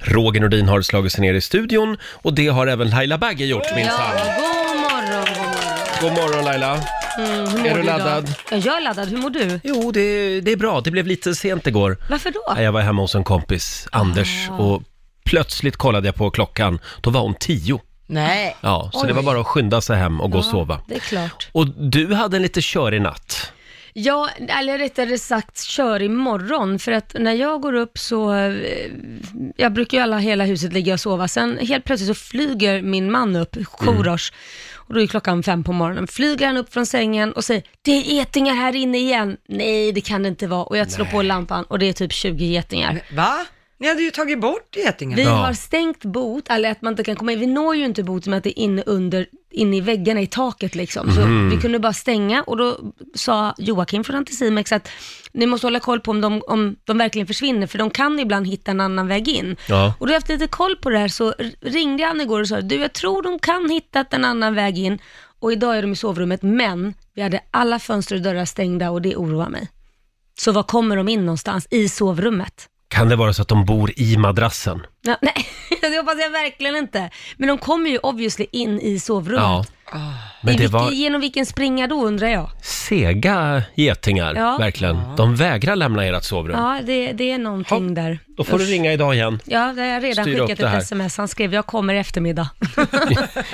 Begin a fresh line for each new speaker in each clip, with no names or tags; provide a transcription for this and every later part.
Roger Nordin har slagit sig ner i studion och det har även Laila Bagge gjort minsann.
Ja, god morgon, god morgon.
God morgon Laila!
Mm, hur mår
Är du
idag?
laddad?
Ja, jag är laddad. Hur mår du?
Jo, det, det är bra. Det blev lite sent igår.
Varför då?
Jag var hemma hos en kompis, Anders,
Ah.
och plötsligt kollade jag på klockan. Då var hon tio.
Nej.
Ja, så
Oj.
det var bara att skynda sig hem och gå och
Ja,
sova.
Det är klart.
Och du hade en lite körig natt.
Ja, eller rättare sagt kör imorgon för att när jag går upp så, eh, jag brukar ju alla hela huset ligga och sova, sen helt plötsligt så flyger min man upp, Korosh,
Mm.
och då är klockan fem på morgonen, flyger han upp från sängen och säger det är getingar här inne igen. Nej, det kan det inte vara och jag slår på lampan och det är typ 20 getingar.
Va? Ni hade ju tagit bort getingen.
Vi
Ja.
har stängt bot, eller att man inte kan komma in. Vi når ju inte bot med att det är inne under, inne i väggarna i taket liksom. Så
Mhm.
vi kunde bara stänga och då sa Joakim från Anticimex att ni måste hålla koll på om de, om de verkligen försvinner, för de kan ibland hitta en annan väg in.
Ja.
Och då efter lite koll på det här så r- ringde han igår och sa, du jag tror de kan hitta en annan väg in och idag är de i sovrummet, men vi hade alla fönster och dörrar stängda och det oroar mig. Så var kommer de in någonstans? I sovrummet?
Kan det vara så att de bor i madrassen?
Ja, nej, det hoppas jag verkligen inte. Men de kommer ju obviously in i sovrummet. Ah.
Ja. Men
I
det
vilken,
var
Genom vilken springa då undrar jag?
sega getingar,
Ja.
verkligen. De vägrar lämna ert sovrum.
Ja, det, det är någonting där.
Då får du
Usch.
ringa idag igen.
Ja, det har jag redan
Styra upp
skickat
det här.
ett sms. Han skrev jag kommer i eftermiddag.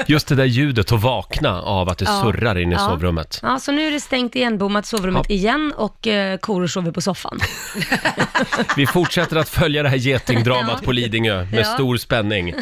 Just det där ljudet och vakna av att det
Ja.
surrar in i
Ja.
sovrummet.
Ja, så nu är det stängt igen, bommat sovrummet igen och eh, Koro sover på soffan.
Vi fortsätter att följa det här getingdramat
Ja.
på Lidingö med
Ja.
stor spänning.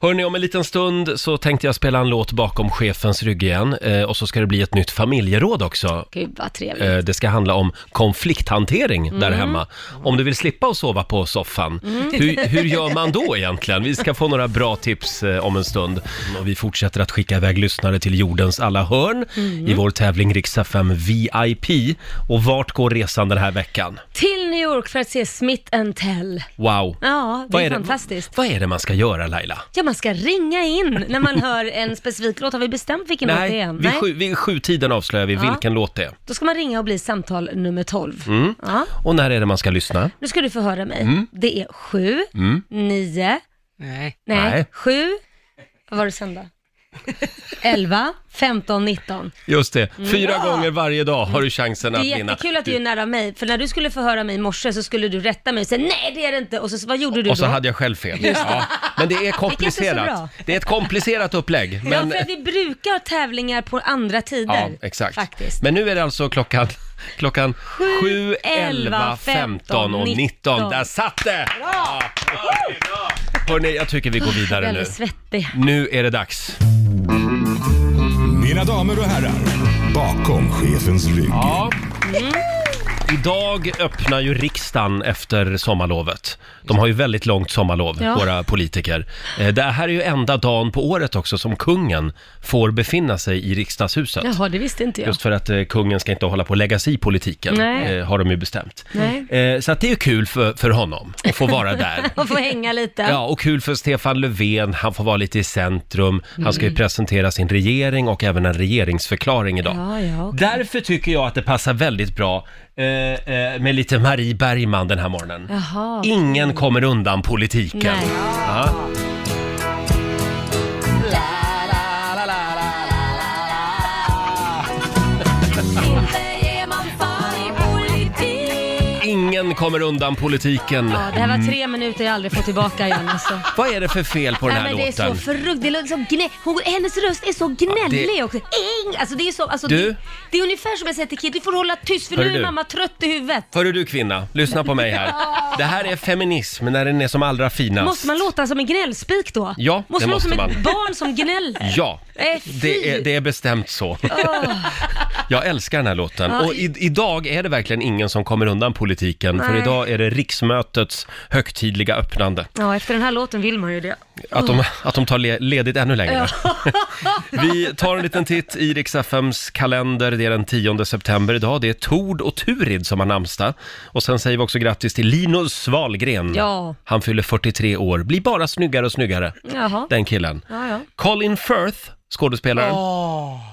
Hörrni, om en liten stund så tänkte jag spela en låt bakom chefens rygg igen eh, och så ska det bli ett nytt familjeråd också.
Gud vad trevligt.
Eh, Det ska handla om konflikthantering där
Mm.
hemma. Om du vill slippa att sova på soffan, hur, hur gör man då egentligen? Vi ska få några bra tips eh, om en stund. Och vi fortsätter att skicka iväg lyssnare till jordens alla hörn
Mm.
i vår tävling Riksa 5 VIP. Och vart går resan den här veckan?
Till New York för att se Smith and Tell.
Wow!
Ja, det
Vad
är,
är det-
fantastiskt.
Vad är det man ska göra Laila?
Ja, man ska ringa in när man hör en specifik låt. Har vi bestämt vilken låt det är? än?
vid, sju, vid sjutiden avslöjar vi
Ja.
vilken låt det är.
Då ska man ringa och bli samtal nummer 12.
Mm.
Ja.
Och när är det man ska lyssna?
Nu ska du få höra mig.
Mm.
Det är sju, nio,
Nej.
nej,
Nej.
sju, vad var det sen då? Elva, femton, nitton.
Just det, fyra gånger varje dag har du chansen
Mm. Det
att
är
vinna.
jättekul att du är nära mig, för när du skulle få höra mig i morse så skulle du rätta mig och säga nej det är det inte och så vad gjorde du
Och så
då?
hade jag själv fel. Ja. Men det är komplicerat.
bra.
Det är ett komplicerat upplägg. Men,
Ja, för att vi brukar ha tävlingar på andra
ja,
tider.
exakt.
Faktiskt.
Men nu är det alltså klockan, klockan 7, 11, 15 och 19. Där satt det! Ja. Hörrni, jag tycker vi går
Jag är
vidare nu.
alldeles svettig.
Nu är det dags.
Mina damer och herrar, bakom chefens rygg.
Ja. Idag öppnar ju riksdagen efter sommarlovet. De har ju väldigt långt sommarlov,
Ja.
våra politiker. Eh, Det här är ju enda dagen på året också som kungen får befinna sig i riksdagshuset.
Jaha, det visste inte jag.
Just för att eh, kungen ska inte hålla på att lägga sig i politiken,
Nej.
eh, har de ju bestämt.
Nej.
Eh, så att det är ju kul för, för honom att få vara där.
Man får hänga lite.
Ja, och kul för Stefan Löfven, han får vara lite i centrum. Han ska
Mm.
ju presentera sin regering och även en regeringsförklaring idag.
Ja, ja, okej.
Därför tycker jag att det passar väldigt bra eh, eh, med lite Marie Bergman den här morgonen.
Jaha.
Ingen kommer undan politiken.
Nej.
Ja. Ingen kommer undan politiken. Mm.
Ja, det här var tre minuter jag aldrig får tillbaka igen alltså.
Vad är det för fel på den
Nej,
här
men det är
låten?
så förrugt, det låter som gnä... Hon, hennes röst är så gnällig
Ja, det-
också. Ing! Alltså det är så, alltså
Du?
Det, det är ungefär som jag säger till Kid, du får hålla tyst för
Hör
nu är
du?
mamma trött i huvudet.
Hörru du kvinna, lyssna på mig här. Det här är feminism när den är som allra finast.
Måste man låta som en gnällspik då?
Ja, det
måste man
måste
låta som
man.
ett barn som gnäller?
Ja,
Nej, fy. Ah.
det är, det är bestämt så. Jag älskar den här låten.
Ja.
Och i, idag är det verkligen ingen som kommer undan politiken, för
Nej.
idag är det riksmötets högtidliga öppnande.
Ja, efter den här låten vill man ju det.
Att
Ah.
de, att de tar le, ledigt ännu längre. Vi tar en liten titt i riks FMs kalender. Det är den 10 september idag. Det är Tord och Turid som har namnsdag. Och sen säger vi också grattis till Linus Wahlgren.
Ja.
Han fyller 43 år. Blir bara snyggare och snyggare,
Jaha.
den killen.
Ja, ja.
Colin Firth, skådespelaren.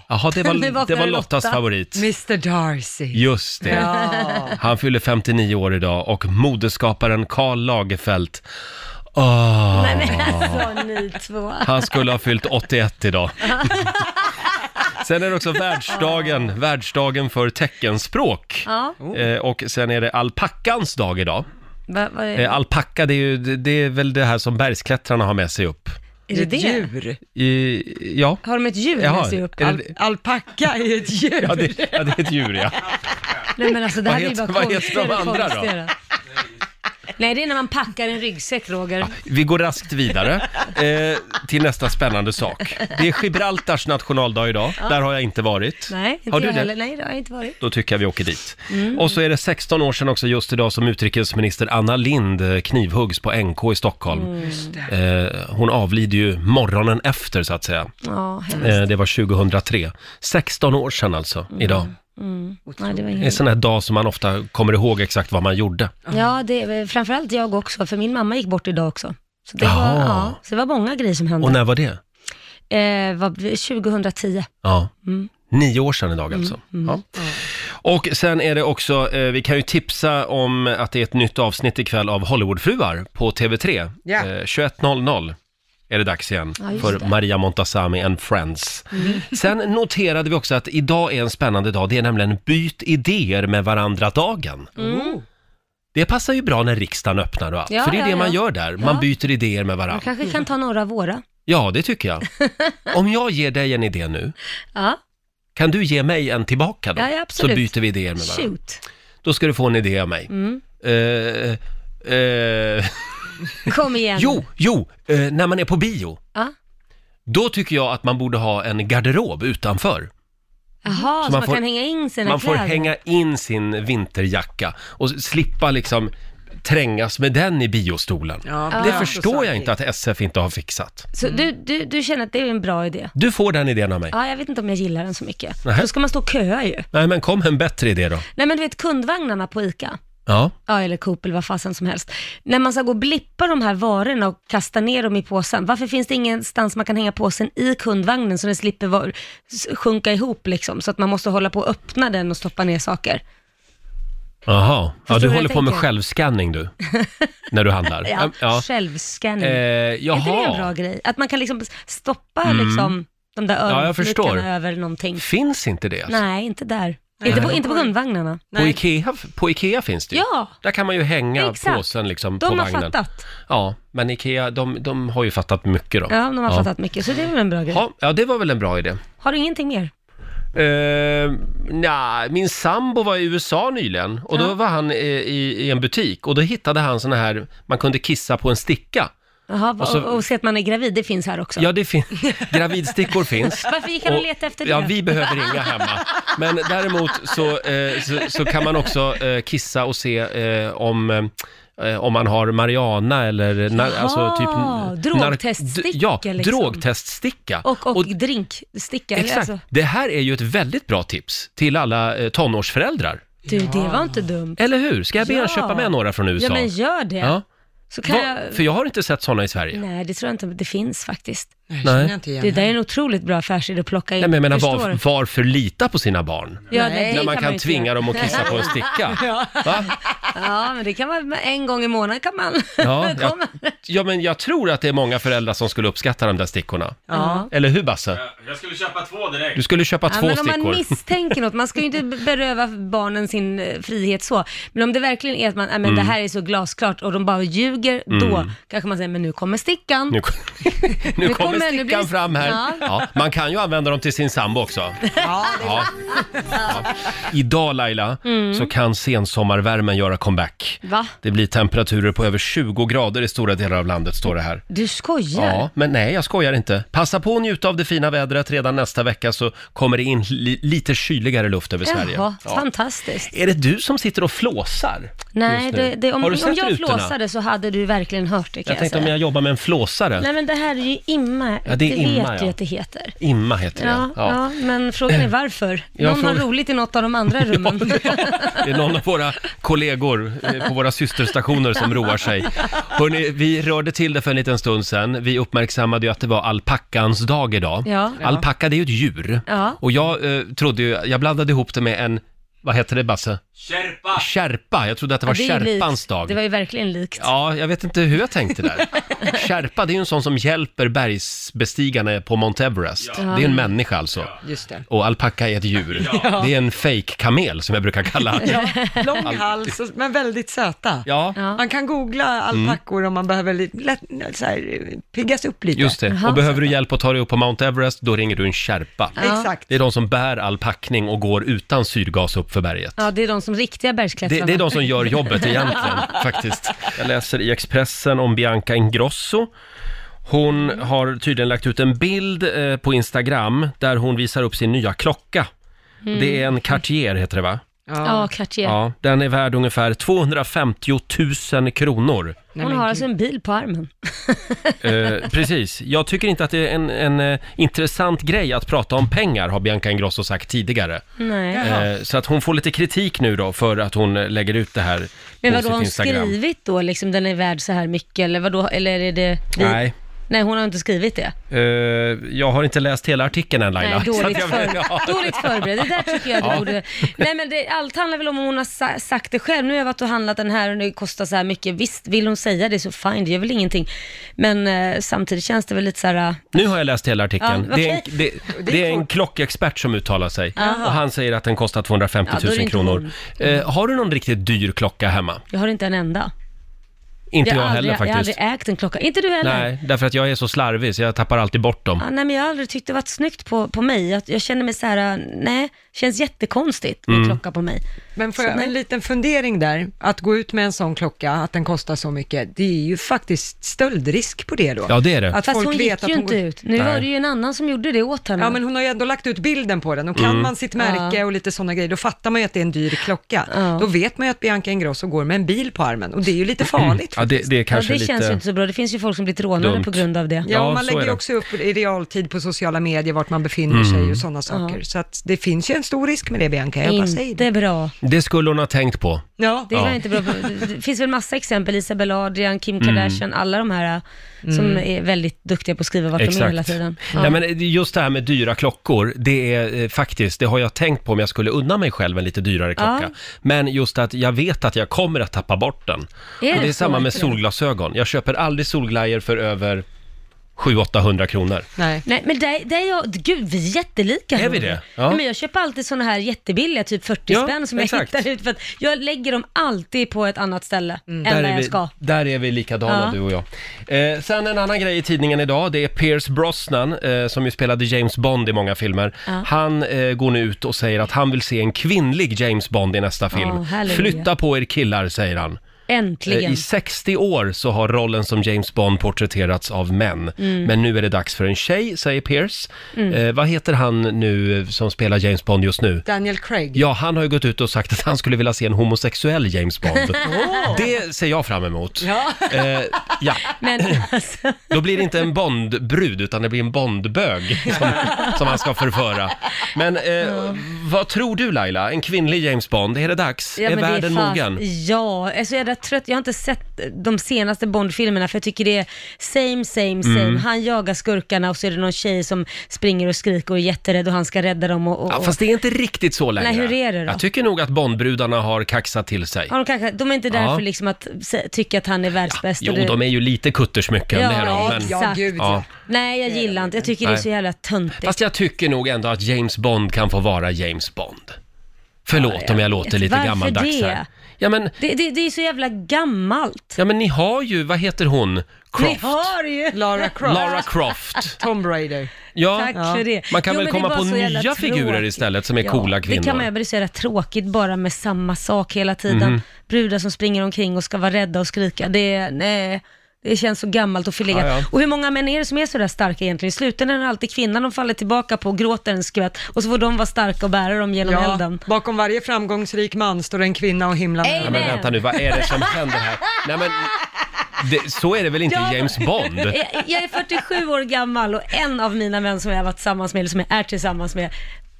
Jaha, det
Nu
var,
vaknar
det var
Lotta.
Lottas favorit.
Mr Darcy.
Just det.
Ja.
Han fyller 59 år idag och modeskaparen Karl Lagerfeld. Åh,
Nej,
Ah.
Alltså ni två.
Han skulle ha fyllt 81 idag. Sen är det också världsdagen, världsdagen för teckenspråk.
Ja,
Eh, och sen är det alpackans dag idag.
va, va,
Eh, alpacka, det är, ju, det- det är väl det här som bergsklättrarna har med sig upp.
är det
ett
det?
djur.
I, ja.
Har de ett djur
Jaha,
med sig upp?
är det
Al-
det?
Alpacka är ett djur.
Ja, det, ja, det är ett djur ja.
Nej men alltså det
Vad
här blir
heter-
bara
vad heter
konstigare
de
och
andra då?
konstigare. Nej, det är när man packar en ryggsäck, Roger.
Vi går raskt vidare eh, till nästa spännande sak. Det är Gibraltars nationaldag idag. Där har jag inte varit.
Nej, inte
har du
jag
det?
heller. Nej, det har jag inte varit.
Då tycker jag vi åker dit.
Mm.
Och så är det 16 år sedan också just idag som utrikesminister Anna Lind eh, knivhuggs på NK i Stockholm.
Mm,
Eh, hon avlider ju morgonen efter så att säga.
Ja, hemskt.
Eh, det var 2003. 16 år sedan alltså, idag.
Mm. Nej, det var
Det är en
inget.
sån här dag som man ofta kommer ihåg exakt vad man gjorde.
Ja, det, är- framförallt jag också, för min mamma gick bort idag också. Så det,
Jaha.
var, ja, så det var många grejer som hände.
Och när var det?
Eh, vad, Mm. 2010.
Ja. Nio år sedan
Mm.
idag alltså. Ja. Och sen är det också, eh, vi kan ju tipsa om att det är ett nytt avsnitt ikväll av Hollywoodfruar på TV3.
Ja.
Eh, 21.00 är det dags igen
Ja, just
för
det.
Maria Montazami and Friends. Sen noterade vi också att idag är en spännande dag, det är nämligen byt idéer med varandra-dagen.
Mm.
Oh.
Det passar ju bra när riksdagen öppnar och allt,
Ja,
för det är
ja,
det
ja.
man gör där, man
Ja.
byter idéer med
Man
varandra.
kanske kan ta några av våra.
Ja, det tycker jag. Om jag ger dig en idé nu,
Ja,
Kan du ge mig en tillbaka då?
Ja, ja,
så
absolut.
byter vi idéer med varandra.
shoot. Mm.
Då ska du få en idé av mig. Eh, eh,
Kom igen.
jo, jo, eh, när man är på bio,
Ja.
då tycker jag att man borde ha en garderob utanför.
Jaha,
man
så, man,
får-
kan hänga in sina
Man får
kläder.
hänga in sin vinterjacka och slippa liksom trängas med den i biostolen.
Ja,
Det
bra.
förstår jag
Så
inte att SF inte har fixat.
Så du, du, du känner att det är en bra idé?
Du får den idén av mig.
Ja, jag vet inte om jag gillar den så mycket.
Nej.
Då ska man stå och köa ju.
Nej, men kom en bättre idé då.
Nej men du vet kundvagnarna på ICA,
Ja,
ja, eller Coop eller vad fasen som helst. När man ska gå och blippa de här varorna och kasta ner dem i påsen, varför finns det ingenstans man kan hänga påsen i kundvagnen så den slipper var- s- sjunka ihop liksom, så att man måste hålla på och öppna den och stoppa ner saker?
jaha. Ja,
Förstår
du
du vad
håller
jag
på med
tänker?
självscanning du, när du handlar. Ehm,
Ja, självscanning.
Eh,
Är inte det
jaha.
en bra grej? Att man kan liksom stoppa liksom, de där
Mm. jag förstår.
öronflickarna över någonting.
Finns inte det? Alltså?
Nej, inte där. Inte, på, inte på kundvagnarna.
På, typ.
Nej.
Ikea, på Ikea finns det ju.
Ja.
Där kan man ju hänga
Exakt.
påsen liksom på
De har
vagnen.
fattat.
Ja, men Ikea, de, de har ju fattat mycket då.
Ja, de har
Ja.
fattat mycket, så det är väl en bra grej.
Ja, ja, det var väl en bra idé.
Har du ingenting mer?
Uh, nja, min sambo var i USA nyligen och då var han eh, i, i en butik och då hittade han såna här, man kunde kissa på en sticka.
Jaha, och,
så-
och, se att man är gravid, det finns här också.
Ja, det finns, gravidstickor finns.
Varför gick han och letade efter det?
Ja, vi behöver inga hemma. Men däremot så, eh, så, så kan man också eh, kissa och se eh, om eh, om man har marijuana eller na,
Jaha,
alltså typ...
drogteststicka
d- Ja,
liksom.
drogteststicka.
Och, och, drinksticka, eller
exakt.
alltså,
Det här är ju ett väldigt bra tips till alla eh, tonårsföräldrar.
Du, det var inte dumt.
Eller hur? Ska jag be er
Ja.
köpa med några från USA?
Ja, men gör det.
Ja.
Så kan
Va,
jag...
För jag har inte sett sådana i Sverige.
Nej, det tror jag inte det finns faktiskt.
Nej.
Nej.
känner jag inte igen
Det där är
henne.
en otroligt bra affärsidé att plocka in.
Nej, men jag menar,
Förstår
var,
du?
varför lita på sina barn?
Ja,
Nej.
det- det
När man
ju
kan,
inte
tvinga
göra.
dem att kissa på en sticka. Va?
Ja, men det kan vara en gång i månaden kan man.
Ja, jag,
komma.
ja, men jag tror att det är många föräldrar som skulle uppskatta de där stickorna.
Ja.
Eller hur Basse?
Jag- Jag skulle köpa två direkt.
Du skulle köpa
Ja,
två
men om
stickor.
man misstänker något, man ska ju inte beröva barnen sin eh, frihet så. Men om det verkligen är att man, äh, men
Mm.
det här är så glasklart och de bara ljuger, då kanske man säger, men nu kommer stickan.
Nu, kom- nu
Nu
kommer
kommer- nu
stickan
blir det-
fram här. Ja.
Ja.
man kan ju använda dem till sin sambo också. Ja. Ja. Idag Laila,
Mm.
så kan sensommarvärmen göra comeback.
Va?
Det blir temperaturer på över 20 grader i stora delar av landet, står det här.
Du skojar?
Ja, men nej, jag skojar inte. Passa på att njuta av det fina vädret. Redan nästa vecka så kommer det in li- lite kyligare luft över Sverige.
Jaha,
Ja.
fantastiskt.
Är det du som sitter och flåsar?
Nej,
just nu?
det, det, om,
Har du
om
sett
jag
rutorna?
flåsade så hade du verkligen hört det kan
Jag
jag,
tänkte
säga.
om jag jobbar med en flåsare.
Nej men det här är ju imma,
Ja, det
det,
är imma,
vet
ja.
du att det heter.
Imma heter
Ja,
jag.
ja. men frågan är varför.
Ja,
Någon har
fråga-
roligt i något av de andra rummen.
Det är någon av våra kollegor eh, på våra systerstationer som roar sig. Hörrni, vi rörde till det för en liten stund sedan. Vi uppmärksammade ju att det var alpackans dag idag.
Ja.
Alpacka, det är ju ett djur.
Ja.
Och jag eh, trodde ju, jag blandade ihop det med en vad heter det Basse? Kärpa! Kärpa, jag trodde att det var
Ja, är ju
kärpans
likt.
dag.
Det var ju verkligen likt.
Ja, jag vet inte hur jag tänkte där. Sherpa, det är ju en sån som hjälper bergsbestigarna på Mount Everest.
Ja.
Det är en människa alltså.
Just det.
Och alpacka är ett djur. Det är en fake kamel som jag brukar kalla
Ja, lång hals, och- men väldigt söta.
Ja, Mm.
Man kan googla alpackor om man behöver lite, lätt, så här, piggas upp lite.
just det. Och behöver du hjälp att ta dig upp på Mount Everest, då ringer du en sherpa.
Exakt.
Det är de som bär all packning och går utan syrgas upp för berget.
Ja, det är de som riktiga
Det,
bergsklättrarna.
det är de som gör jobbet egentligen, faktiskt. Jag läser i Expressen om Bianca Ingrosso. Hon har tydligen lagt ut en bild eh, på Instagram där hon visar upp sin nya klocka.
Mm.
Det är en Cartier, heter det va?
Ja, Cartier.
Ja, den är värd ungefär 250 000 kronor.
Nej,
Hon
men
har
gud.
alltså en bil på armen.
Eh, precis. Jag tycker inte att det är en, en eh, intressant grej att prata om pengar, har Bianca Ingrosso sagt tidigare.
Nej.
Eh, så att hon får lite kritik nu då för att hon eh, lägger ut det här
Men
på
vadå, har
sitt
hon
Instagram.
skrivit då liksom den är värd så här mycket eller vadå, eller är det vi?
Nej,
Nej, hon har inte skrivit det.
Eh, jag har inte läst hela artikeln än Laila.
Nej,
Så
dåligt,
att jag-
för,
ja.
dåligt förberedd. Det där tycker jag du borde... Nej, men det, allt handlar väl om hon har sa, sagt det själv. Nu har jag varit och handlat den här och det kostar så här mycket. Visst, vill hon säga det så fine, det gör väl ingenting. Men eh, samtidigt känns det väl lite så här... eh,
Nu har jag läst hela artikeln.
Ja,
det, är en,
okej.
det, det är en klockexpert som uttalar sig och han säger att den kostar 250
Ja,
000
då är det inte
kronor. Eh, har du någon riktigt dyr klocka hemma?
Jag har inte en enda.
Inte jag,
har aldrig,
heller
jag har
faktiskt.
aldrig ägt en klocka. Inte du heller?
Nej, därför att jag är så slarvig så jag tappar alltid bort dem.
Ja, nej, men jag har aldrig tyckt det varit snyggt på, på mig. Jag, jag känner mig så här, eh, nej, känns jättekonstigt
Mm.
med klocka på mig.
Men får
Så
jag
nej.
en liten fundering där? Att gå ut med en sån klocka, att den kostar så mycket, det är ju faktiskt stöldrisk på det då.
Ja, det är det.
Att
Fast
folk
hon
vet
gick
att
ju
hon
inte
går-
ut. Nu var det ju en annan som gjorde det åt henne.
Ja, men hon har ju ändå lagt ut bilden på den och kan
Mm.
man sitt märke och lite sådana grejer, då fattar man ju att det är en dyr klocka.
Ja.
Då vet man ju att Bianca Ingrosso går med en bil på armen och det är ju lite farligt.
Ja, det, det är kanske
ja, det
lite...
känns ju inte så bra. Det finns ju folk som blivit rånade
dumt.
på grund av det.
Ja,
Ja,
och man
så
lägger
är det. Mm.
ju också upp i realtid på sociala medier vart man befinner sig och sådana saker. Så att det finns ju en stor risk med det Bianca, jag bara säger det.
Inte bra.
Det skulle hon ha tänkt på.
Ja,
Det, var inte bra. Det- det finns väl massa exempel, Isabella Adrian, Kim
Mm.
Kardashian, alla de här äh,
Mm.
som är väldigt duktiga på att skriva vart de är hela tiden. Ja.
Nej, men just det här med dyra klockor, det är eh, faktiskt, det har jag tänkt på om jag skulle unna mig själv en lite dyrare klocka.
Ja.
Men just att jag vet att jag kommer att tappa bort den.
det
och det är
så?
samma med solglasögon. Jag köper aldrig solglajjor för över 700-800 kronor.
nej.
Nej, men där, där är jag, gud vi är jättelika.
Är vi
Roger.
det? Ja.
Ja. men jag köper alltid sådana här jättebilliga, typ 40
Ja,
spänn som
exakt.
jag hittar ut för att jag lägger dem alltid på ett annat ställe
Mm. Där
än där
är,
jag
vi,
ska.
där är vi likadana
Ja.
du och jag. Eh, sen en annan grej i tidningen idag, det är Pierce Brosnan eh, som ju spelade James Bond i många filmer. Han eh, går nu ut och säger att han vill se en kvinnlig James Bond i nästa film.
halleluja.
Flytta på er killar, säger han. Eh,
Äntligen.
I 60 år så har rollen som James Bond porträtterats av män.
Mm.
Men nu är det dags för en tjej, säger Pierce. Eh, vad heter han nu eh, som spelar James Bond just nu?
Daniel Craig.
Ja, han har ju gått ut och sagt att han skulle vilja se en homosexuell James Bond. Det ser jag fram emot.
Ja.
Eh, ja,
Men alltså,
då blir det inte en Bondbrud utan det blir en Bondbög som, som han ska förföra. Men eh, vad tror du Laila, en kvinnlig James Bond, är det dags?
ja,
är
men det
världen
fan-
mogen?
Ja, alltså jag är rätt trött. Jag har inte sett de senaste Bond-filmerna för jag tycker det är same, same, same.
Mm.
Han jagar skurkarna och så är det någon tjej som springer och skriker och är jätterädd och han ska rädda dem och... och
Ja, fast det är inte riktigt så längre.
Nej, hur är det då?
Jag tycker nog att Bondbrudarna har kaxat till sig.
Ja, de, kanske, de är inte där
Ja.
för liksom att se, tycka att han är världsbäst.
Jo,
och det-
de är ju lite kuttersmycken,
Ja,
det är de, men...
ja,
exakt.
gud.
Ja.
Nej, jag gillar inte. Jag tycker det är
Eh, Nej.
så jävla töntigt.
Fast jag tycker nog ändå att James Bond kan få vara James Bond. Förlåt om jag låter lite
Varför
gammaldags
det?
här. Ja men,
Det, det, det är så jävla gammalt.
ja men ni har ju, vad heter hon?
Ni
Croft.
har ju.
Lara Croft.
Lara Croft.
Tomb Raider.
Ja.
Tack för det.
Man kan
Jo,
väl
men det är
komma
bara
på
så jävla
nya figurer
tråkigt.
istället som är
Ja,
coola
Det kan man
kvinnor.
göra, det är så jävla tråkigt bara med samma sak hela tiden.
Mhm.
Brudar som springer omkring och ska vara rädda och skrika. Det, är- nej, det känns så gammalt och förlegat.
Ja, ja.
Och hur många män är det som är så där starka egentligen? I slutändan är det alltid kvinnan de faller tillbaka på, gråter en skvätt och så får de vara starka och bära dem genom elden.
bakom varje framgångsrik man står en kvinna och himlen
Amen.
Ja, men vänta nu, vad är det som händer här? Nej men, det, så är det väl inte i James Bond?
Jag- Jag är 47 år gammal och en av mina män som jag har varit tillsammans med, eller som jag är tillsammans med,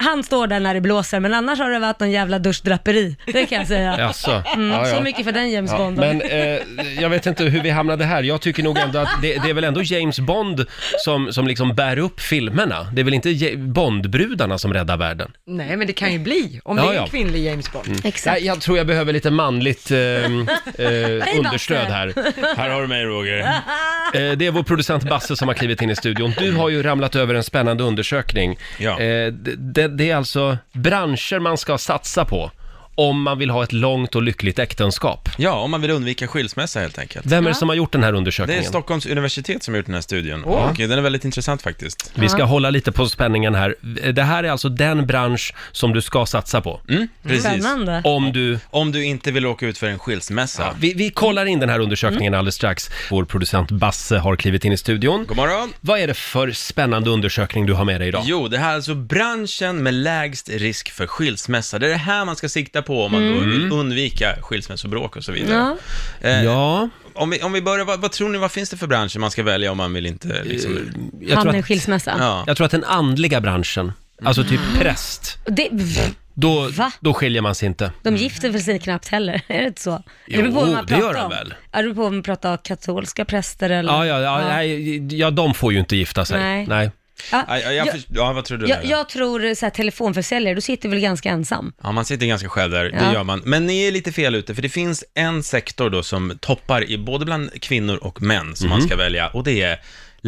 han står där när det blåser, men annars har det varit någon jävla duschdraperi. Det kan jag säga.
Jaså?
Mm,
Ja, ja.
Så mycket för den James
Ja,
Bond.
men eh, jag vet inte hur vi hamnade här. Jag tycker nog ändå att det, det är väl ändå James Bond som, som liksom bär upp filmerna. Det är väl inte Ja- Bondbrudarna som räddar världen?
Nej, men det kan ju bli om
Ja,
det är
ja.
en kvinnlig James Bond.
Exakt.
Mm. Nej, jag tror jag behöver lite manligt eh, eh, understöd här.
Här har du mig Roger.
Eh, det är vår producent Basse som har klivit in i studion. Du har ju ramlat över en spännande undersökning.
Ja.
Eh, det- det, det är alltså branscher man ska satsa på om man vill ha ett långt och lyckligt äktenskap.
Ja, om man vill undvika skilsmässa helt enkelt.
Vem är det som har gjort den här
Det är
undersökningen?
Stockholms universitet som har gjort den här studien och den är väldigt intressant faktiskt.
Vi ska hålla lite på spänningen här. Det här är alltså den bransch som du ska satsa på.
Mm, precis.
Spännande.
Om du...
Om du inte vill åka ut för en skilsmässa.
Vi, vi kollar in den här
Mm.
undersökningen alldeles strax. Vår producent Basse har klivit in i studion.
God morgon.
Vad är det för spännande undersökning du har med dig idag?
Jo, det här är alltså branschen med lägst risk för skilsmässa. Det är det här man ska sikta på om man då
Mm.
vill undvika skilsmässobråk och så vidare. Eh,
Ja,
Om, vi, om vi börjar, vad, vad tror ni, vad finns det för branscher man ska välja om man vill inte liksom...
Eh, jag tror,
Han är
att,
skilsmässa.
Ja.
jag tror att den andliga branschen, alltså typ präst,
Det, pff,
då,
Mm. Va?
då skiljer man sig inte.
de gifter väl sig knappt heller? Är det inte så?
Jo,
beror på vad man
det
pratar
gör de
om.
väl.
Ja, Det beror på om man pratar om katolska präster eller...
Ja, ja, ja, nej, ja, de får ju inte gifta sig.
Nej. Ja,
Ja, jag, jag,
jag-
först- ja, vad tror du?
jag,
Laila?
jag tror så här, telefonförsäljare, du sitter väl ganska ensam?
Ja, man sitter ganska själv där, det
Ja.
gör man. Men ni är lite fel ute, för det finns en sektor då som toppar i både bland kvinnor och män som
Mhm.
man ska välja, och det är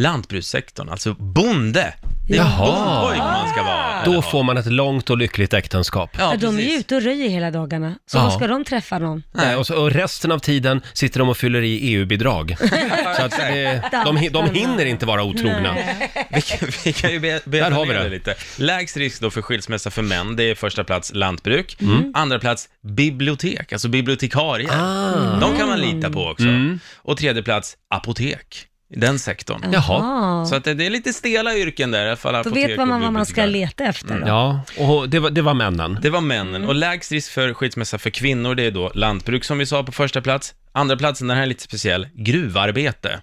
lantbrukssektorn, alltså bonde. Det är
Jaha.
bondpojk man ska vara. eller
Då
ha.
får man ett långt och lyckligt äktenskap.
Ja,
Ja, de är ju
precis.
ute och röjer hela dagarna, så
Ja.
vad ska de träffa någon?
Nej, och, så, och resten av tiden sitter de och fyller i E EU-bidrag. Så att det, de, hi- de hinner inte vara otrogna.
Vi kan, vi kan ju be-
Där
beta
har vi
ner
det.
det lite. Lägst risk då för skilsmässa för män, det är första plats lantbruk,
Mm.
andra plats bibliotek, alltså bibliotekarier.
Ah.
De kan man lita på också.
Mm.
Och tredje plats apotek, i den sektorn.
Jaha.
Ah,
Så att det det är lite stela yrken där, i alla fall
då
apotek
vet man
och
vad man ska
bibliotekarier.
leta efter. Då.
Ja, och det var, det var männen.
Det var männen. Och lägst risk för skilsmässa för kvinnor, det är då lantbruk som vi sa på första plats. Andra platsen, den här är lite speciell, gruvarbete.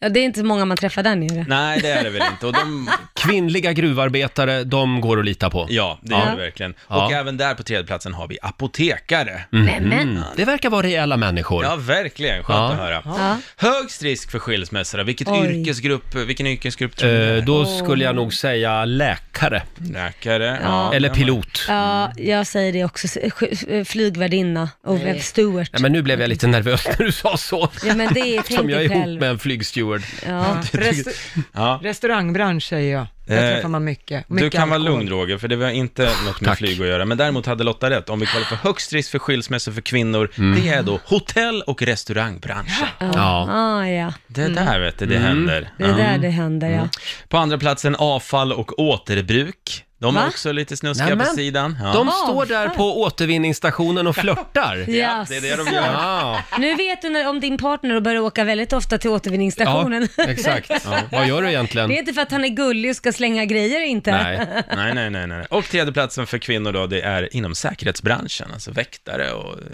Ja, det är inte så många man träffar där nere.
Nej, det är det väl inte. Och de,
Kvinnliga gruvarbetare, de går att lita på.
ja, det
Ja.
är det verkligen.
Ja.
Och även där på tredje platsen har vi apotekare.
Men, men.
Mm. Det verkar vara reella människor.
Ja, verkligen. Skönt
Ja.
att höra.
Ja.
Högst risk för skilsmässa då? Vilket
Oj.
yrkesgrupp, vilken yrkesgrupp tror ni?
Eh,
det
då skulle jag nog säga läkare,
är? Läkare?
eller
kan man-
pilot.
Ja, jag säger det också. Sk- eh, Flygvärdinna och steward.
Nej, men nu blev jag lite nervös när du sa så.
Ja, men det är, tänk
Som jag är
dig
ihop
själv.
med en flygsteward.
Ja.
Rest-
Ja.
restaurangbransch säger jag. Där
Eh,
träffar man mycket.
Du
mycket
kan vara
alkohol.
lugn Roger, för det var inte något med
Tack.
flyg att göra. Men däremot hade Lotta rätt. Om vi kollar på högst risk för skilsmässa för kvinnor,
Mm.
det är då hotell och restaurangbranschen.
Ja. Mm.
Ah, ja,
Det där vet du, det händer. Mm.
det är där det händer ja.
På andra platsen avfall och återbruk. De är
Va?
också lite snuskiga
Nämen.
på sidan. Ja.
De
Ja.
står där på återvinningsstationen och flörtar.
Ja, det är det de
Jaså.
gör.
Ja,
Nu vet du när, om din partner börjar åka väldigt ofta till återvinningsstationen.
ja exakt. Vad gör du egentligen?
Det är inte för att han är gullig och ska slänga grejer inte.
Nej.
Nej, nej, nej, nej. Och tredje platsen för kvinnor då, det är inom säkerhetsbranschen, alltså väktare och eh,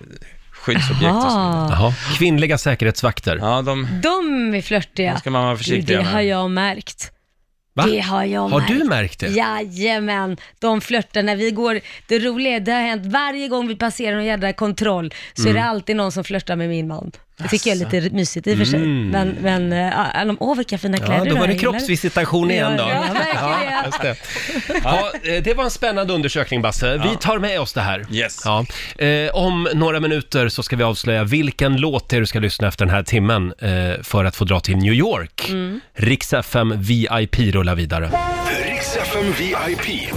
skyddsobjekt och sånt.
Ah,
Jaha. Kvinnliga säkerhetsvakter.
Ja, de
de är flörtiga.
ska man vara
Du,
försiktig
det har
med.
jag märkt.
Va?
Det har jag
Har
märkt.
du märkt det?
Jajamän, de flörtar när vi går. Det roliga är, det har hänt varje gång vi passerar någon jädra kontroll så är
Mm.
det alltid någon som flörtar med min man. Det tycker jag är lite mysigt i och för sig. Men, men äh, de, åh vilka fina kläder
Mm. Ja,
du
då
har,
var det
gillar
kroppsvisitation igen då.
Ja, jag märker det.
Just det. Ja, eh, det var en spännande undersökning Basse. Vi tar med oss det här.
Yes.
Ja. Eh, Om några minuter så ska vi avslöja vilken låt det är du ska lyssna efter den här timmen eh, för att få dra till New York.
Mm.
Mm.
Rix FM VIP rullar vidare.
Riks FM VIP.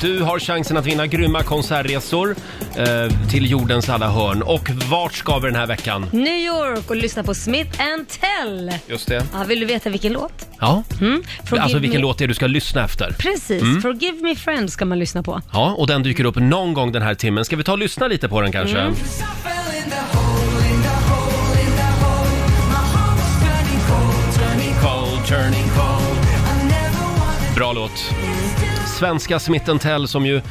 Du har chansen att vinna grymma konsertresor eh, till jordens alla hörn. Och vart ska vi den här veckan?
New York och lyssna på Smith and Tell.
Just det.
Ja, vill du veta vilken låt?
Ja,
Mm? Forgive
alltså vilken
me...
låt det är du ska lyssna efter. Mm.
Precis, Forgive Me Friend ska man lyssna på.
Ja, och den dyker upp någon gång den här timmen. Ska vi ta och lyssna lite på den kanske?
Mm.
Bra låt. Svenska Smith Tell som ju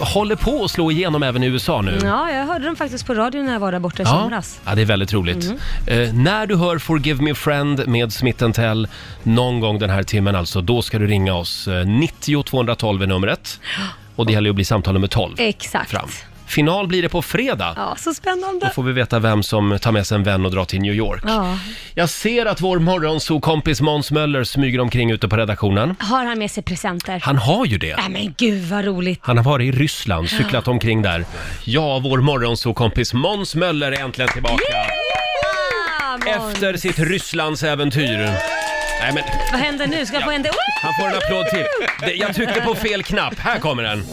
håller på att slå igenom även i USA nu.
Ja, jag hörde dem faktiskt på radion när jag var där borta i
Ja,
somras. Mm.
ja, det är väldigt roligt. Eh, när du hör Forgive Me Friend med Smith Tell någon gång den här timmen alltså, då ska du ringa oss. Eh, 90 212 är numret. Och det gäller ju att bli samtal nummer 12
Exakt.
fram. Final blir det på fredag.
Ja, så
Då
spännande.
får vi veta vem som tar med sig en vän och drar till New York.
Ja.
Jag ser att vår morgonsokompis Måns Möller smyger omkring ute på redaktionen.
Har han med sig presenter?
Han har ju det.
Nej men gud vad roligt.
Han har varit i Ryssland, cyklat omkring där. Ja, vår morgonsokompis Måns Möller är äntligen tillbaka.
Ah, Måns.
Efter sitt Rysslandsäventyr. Nej men,
Vad händer nu? Ska jag få en...
han får en applåd till. Det- Jag tryckte på fel knapp, här kommer den.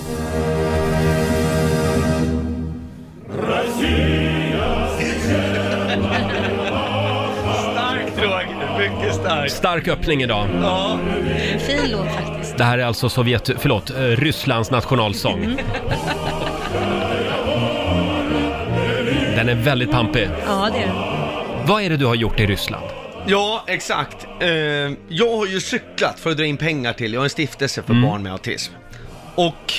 Starkt Roger, mycket starkt.
Stark öppning idag.
Fin låt faktiskt.
Det här är alltså Sovjet, förlåt, eh, Rysslands nationalsång. Den är väldigt pampig.
Ja, det är den.
Vad är det du har gjort i Ryssland?
Ja, exakt. Eh, jag har ju cyklat för att dra in pengar till, jag har en stiftelse
Mm.
för barn med autism. Och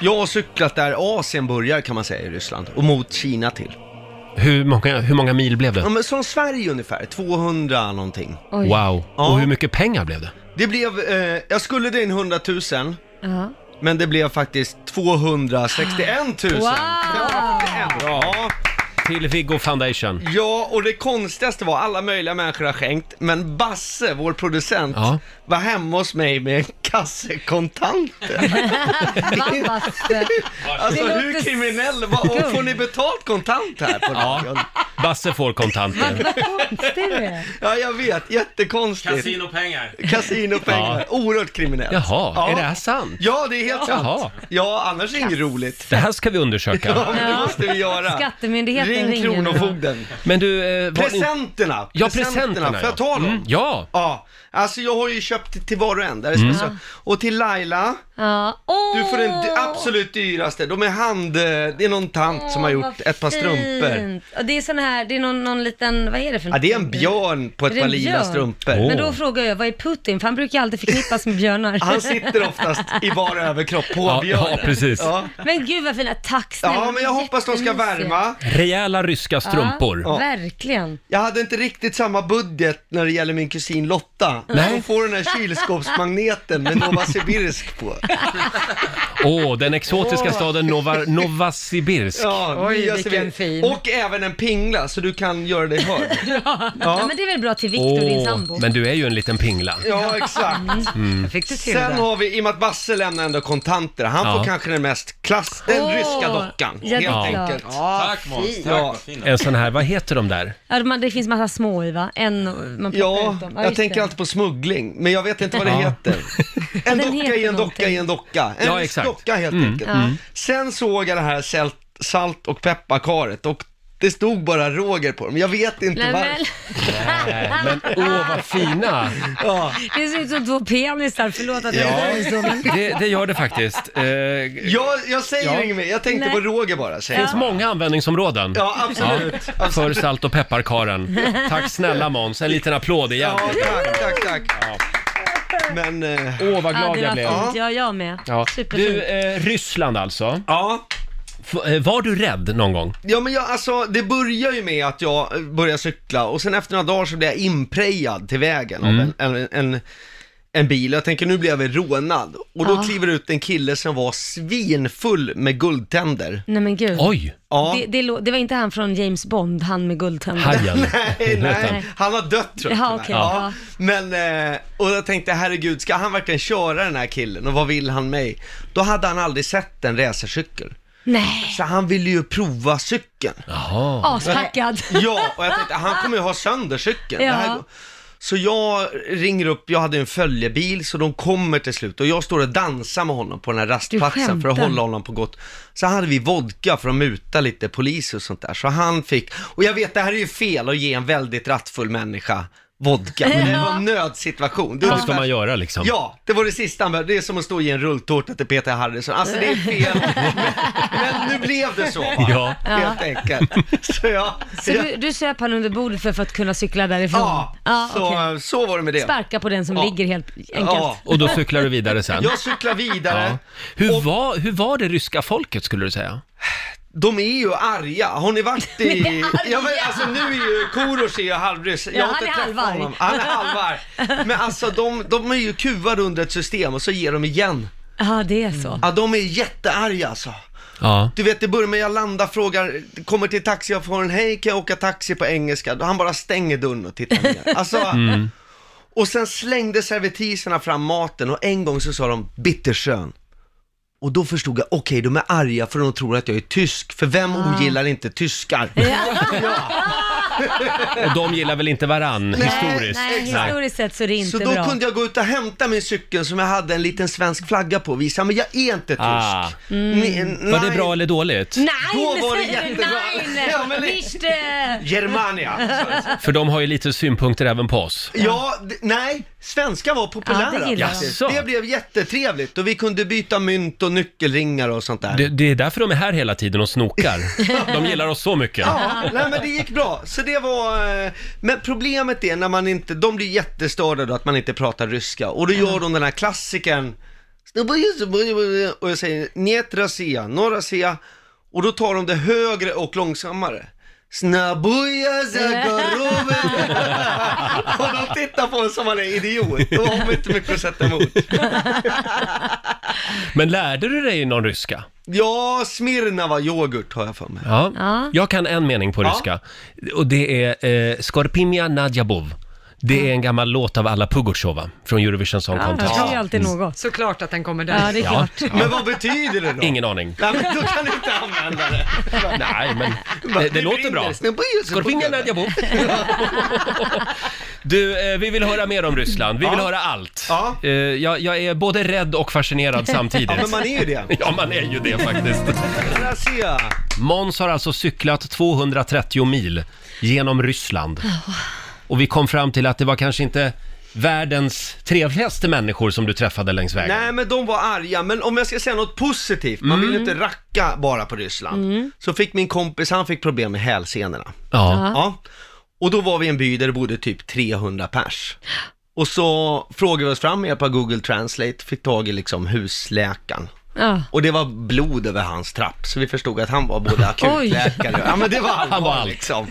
jag har cyklat där Asien börjar kan man säga i Ryssland, och mot Kina till.
Hur många, hur många mil blev
Ja,
det?
men som Sverige ungefär, 200 någonting.
Oj.
Wow.
Ja.
Och hur mycket pengar blev det?
Det blev, eh, jag skulle dra in 100 000,
Ja.
men det blev faktiskt 261 000.
Wow.
Ja.
Till Viggo Foundation.
Ja, och det konstigaste var alla möjliga människor har skänkt, men Basse, vår producent,
Ja.
var hemma hos mig med en kasse kontanter.
Va, Basse?
Alltså
Det låter
hur kriminell var och får ni betalt kontant här på radion?
Basse får kontanter.
Det är det.
Ja, jag vet, jättekonstigt.
Kasinopengar.
Kasinopengar, oerhört kriminellt.
Jaha,
ja.
är det här sant?
Ja, det är helt
Jaha.
sant. Ja, annars är det inget roligt.
Det här ska vi undersöka.
Ja, men det måste vi göra.
Skattemyndigheten
Ring
ringer nu.
Kronofogden.
Men du, eh, var in...
Presenterna!
Ja, presenterna,
Får jag
ja.
ta dem?
Mm, ja. Mm.
Ja, alltså jag har ju köpt till var och en där det ska så. Och till Laila,
Ja. Åh!
du får den d- absolut dyraste. De är hand... eh, Det är någon tant som har
Åh,
gjort
vad
ett par
fint.
strumpor.
Och det är sån här, det är någon, någon liten, vad är det för
Ja, det är en björn på
Är
ett
det
par
en
lila
björn?
strumpor.
Åh.
Men då frågar jag, vad är Putin? För han brukar alltid förknippas med björnar.
Han sitter oftast i bara överkropp på
Ja,
björnen.
ja, precis.
Ja.
Men gud vad fina, tack snälla.
ja, men jag hoppas de ska
Jättemysiga.
värma.
Rejäla ryska strumpor.
Ja, verkligen.
Jag hade inte riktigt samma budget när det gäller min kusin Lotta.
Nej.
Hon får den här kylskåpsmagneten med Novosibirsk på.
Åh, den exotiska staden Nova, Novosibirsk.
Ja,
Oj,
nya
vilken
civil-
fin.
Och även en pingla, så du kan göra dig hörd.
Ja. men det är väl bra till Viktor, din sambo. Mm.
Åh, men du är ju en liten pingla. Mm.
Ja, exakt.
Jag fick det till
Sen
det.
har vi, i och med att Basse lämnar ändå kontanter, han
Ja.
får kanske den mest klass, den
Åh,
ryska dockan.
ja, det är
helt
klart.
enkelt.
Tack Måns, tack
Ja.
vad fint.
En sån här, vad heter de där?
Ja, man, det finns massa små i va? En och man plockar
Ja,
ut dem.
jag
just
tänker
det.
alltid på smuggling, men jag vet inte vad det
Ja.
heter. En
den
docka
heter
i en docka
någonting.
i en docka. En
Ja, exakt. Mm.
docka helt enkelt. Sen såg jag det här sält- salt och pepparkaret och det stod bara Roger på dem. Jag vet inte
Nej,
varför.
men,
Nej, men åh vad fina!
Ja.
det ser ut som två penisar, förlåt att jag
Ja,
säger så. Men...
det, det gör det faktiskt. Eh, det
Jag, jag säger
Ja.
inget mer, jag tänkte
Nej.
på Roger bara. Säger
finns
jag.
många användningsområden.
ja absolut.
Ja, för salt och pepparkaren. Tack snälla Måns, en liten applåd igen.
Ja, tack, tack, tack. Men, eh,
Åh vad
Ja,
glad
det
jag
var
blev.
fint. Ja, jag med.
Ja.
Superfint.
Du, eh, Ryssland alltså.
ja.
F- eh, var du rädd någon gång?
Ja men jag, alltså det börjar ju med att jag eh, börjar cykla och sen efter några dagar så blir jag inprejad till vägen
Mm.
av en, en, en, en bil. Jag tänker nu blir jag väl rånad. Och
Ah.
då kliver ut en kille som var svinfull med guldtänder.
Nej men gud.
Oj,
Ja.
Det, det, lå- det var inte han från James Bond, han med guldtänder.
hajen.
Nej, nej,
Nej.
han har dött tror jag
Jaha,
tyvärr.
okej,
ja. Men, eh, och jag tänkte herregud, ska han verkligen köra den här killen och vad vill han mig? Då hade han aldrig sett en racercykel.
Nej,
Så han ville ju prova cykeln.
Jaha.
aspackad.
Ja, och jag tänkte han kommer ju ha sönder cykeln. Det här
Ja.
går- Så jag ringer upp, jag hade en följebil så de kommer till slut och jag står och dansar med honom på den här rastplatsen för att
skämtar.
hålla honom på gott. Så hade vi vodka för att muta lite poliser och sånt där. Så han fick, och jag vet det här är ju fel att ge en väldigt rattfull människa vodka. Men det var en nödsituation. Det är
Vad ska
ungefär-
man göra liksom?
Ja, det var det sista han behövde. Det är som att stå i en rulltårta till Peter Harrison. Alltså det är fel. Men nu blev det så va?
Ja.
Helt enkelt. Så ja,
Så du, du söp han under bordet för, för att kunna cykla därifrån?
ja, så,
okej.
så var det med det.
Sparka på den som
Ja.
ligger helt enkelt.
Ja,
Och då cyklar du vidare sen?
jag cyklar vidare.
Ja. Hur, var, hur var det ryska folket skulle du säga?
De är ju arga. Har ni varit i...
De är arga.
Ja, men alltså nu är ju... Korosh är ju halvryss. Jag
Ja,
har
han
inte
är
träffat
halvarg.
honom. Han är halvarg. Men alltså de, de är ju kuvade under ett system och så ger de igen.
Ja, det är så.
Ja, de är jättearga alltså.
Ja.
Du vet, det börjar med jag landar, frågar, kommer till taxichauffören, hej kan jag åka taxi på engelska? Han bara stänger dörren och tittar ner. Alltså,
Mm.
Mm.
och sen slängde servitriserna fram maten och en gång så sa de bitterskön. Och då förstod jag, okej de är arga för de tror att jag är tysk, för vem
Ah.
ogillar inte tyskar?
Och de gillar väl inte varann historiskt?
Nej, historiskt sett så är det inte
Så då
bra.
kunde jag gå ut och hämta min cykel som jag hade en liten svensk flagga på och visa, men jag är inte tysk.
Ah.
Mm.
Ni-
Var det
Mm. nej.
bra eller dåligt?
Nej,
Då
men
var det
säger du
jättebra.
Nej,
Ja, men det-
Visst, eh,
Germania. sa jag.
För de har ju lite synpunkter även på oss.
Ja, d- nej, svenska var populära.
Ja, det gillar
jag.
faktiskt.
Jaså?
det blev jättetrevligt och vi kunde byta mynt och nyckelringar och sånt där.
Det, det är därför de är här hela tiden och snokar. De gillar oss så mycket.
Ja, nej men det gick bra. Så det var... eh, Men problemet är när man inte... De blir jättestörda då att man inte pratar ryska och då gör de den här klassikern och jag säger njet rasia, no rasia och då tar de det högre och långsammare. Snabuja Zagorove! Och de tittar på en som man är idiot. Då har man inte mycket att sätta emot.
Men lärde du dig någon ryska?
Ja, Smirnava yoghurt har jag för mig.
Ja.
Ja.
Jag kan en mening på ryska. Och det är eh, Skorpimia Nadjabov. Det är en gammal låt av alla Pugosjova från Eurovision Song
ja, det
Contest.
är ju alltid något.
Såklart att den kommer där.
Ja, det är
Ja.
klart.
Men vad betyder det då?
Ingen aning.
Nej, men då kan du inte använda det.
Nej, men det, det låter bra. Skorpimia Nadjabov. Du, eh, vi vill höra mer om Ryssland. Vi vill
Ja.
höra allt.
Ja.
Eh, jag, jag är både rädd och fascinerad samtidigt.
Ja, men man är ju det.
Ja, man är ju det faktiskt.
Där ser jag.
Måns har alltså cyklat 230 mil genom Ryssland. Och vi kom fram till att det var kanske inte världens trevligaste människor som du träffade längs vägen. Mm.
Nej, men de var arga. Men om jag ska säga något positivt, man vill ju inte racka bara på Ryssland. Så fick min kompis, han fick problem med hälsenorna.
Ja.
Ja. Och då var vi i en by där det bodde typ 300 pers. Och så frågade vi oss fram med hjälp av Google Translate, fick tag i liksom husläkaren.
Ja.
Och det var blod över hans trapp, så vi förstod att han var både akutläkare Ja men det var allvar
Han var allt.
liksom.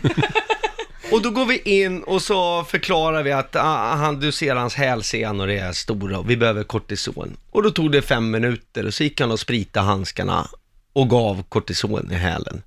Och då går vi in och så förklarar vi att ah, han, du ser hans hälsenor är stora och vi behöver kortison. Och då tog det fem minuter och så gick han och spritade handskarna och gav kortison i hälen.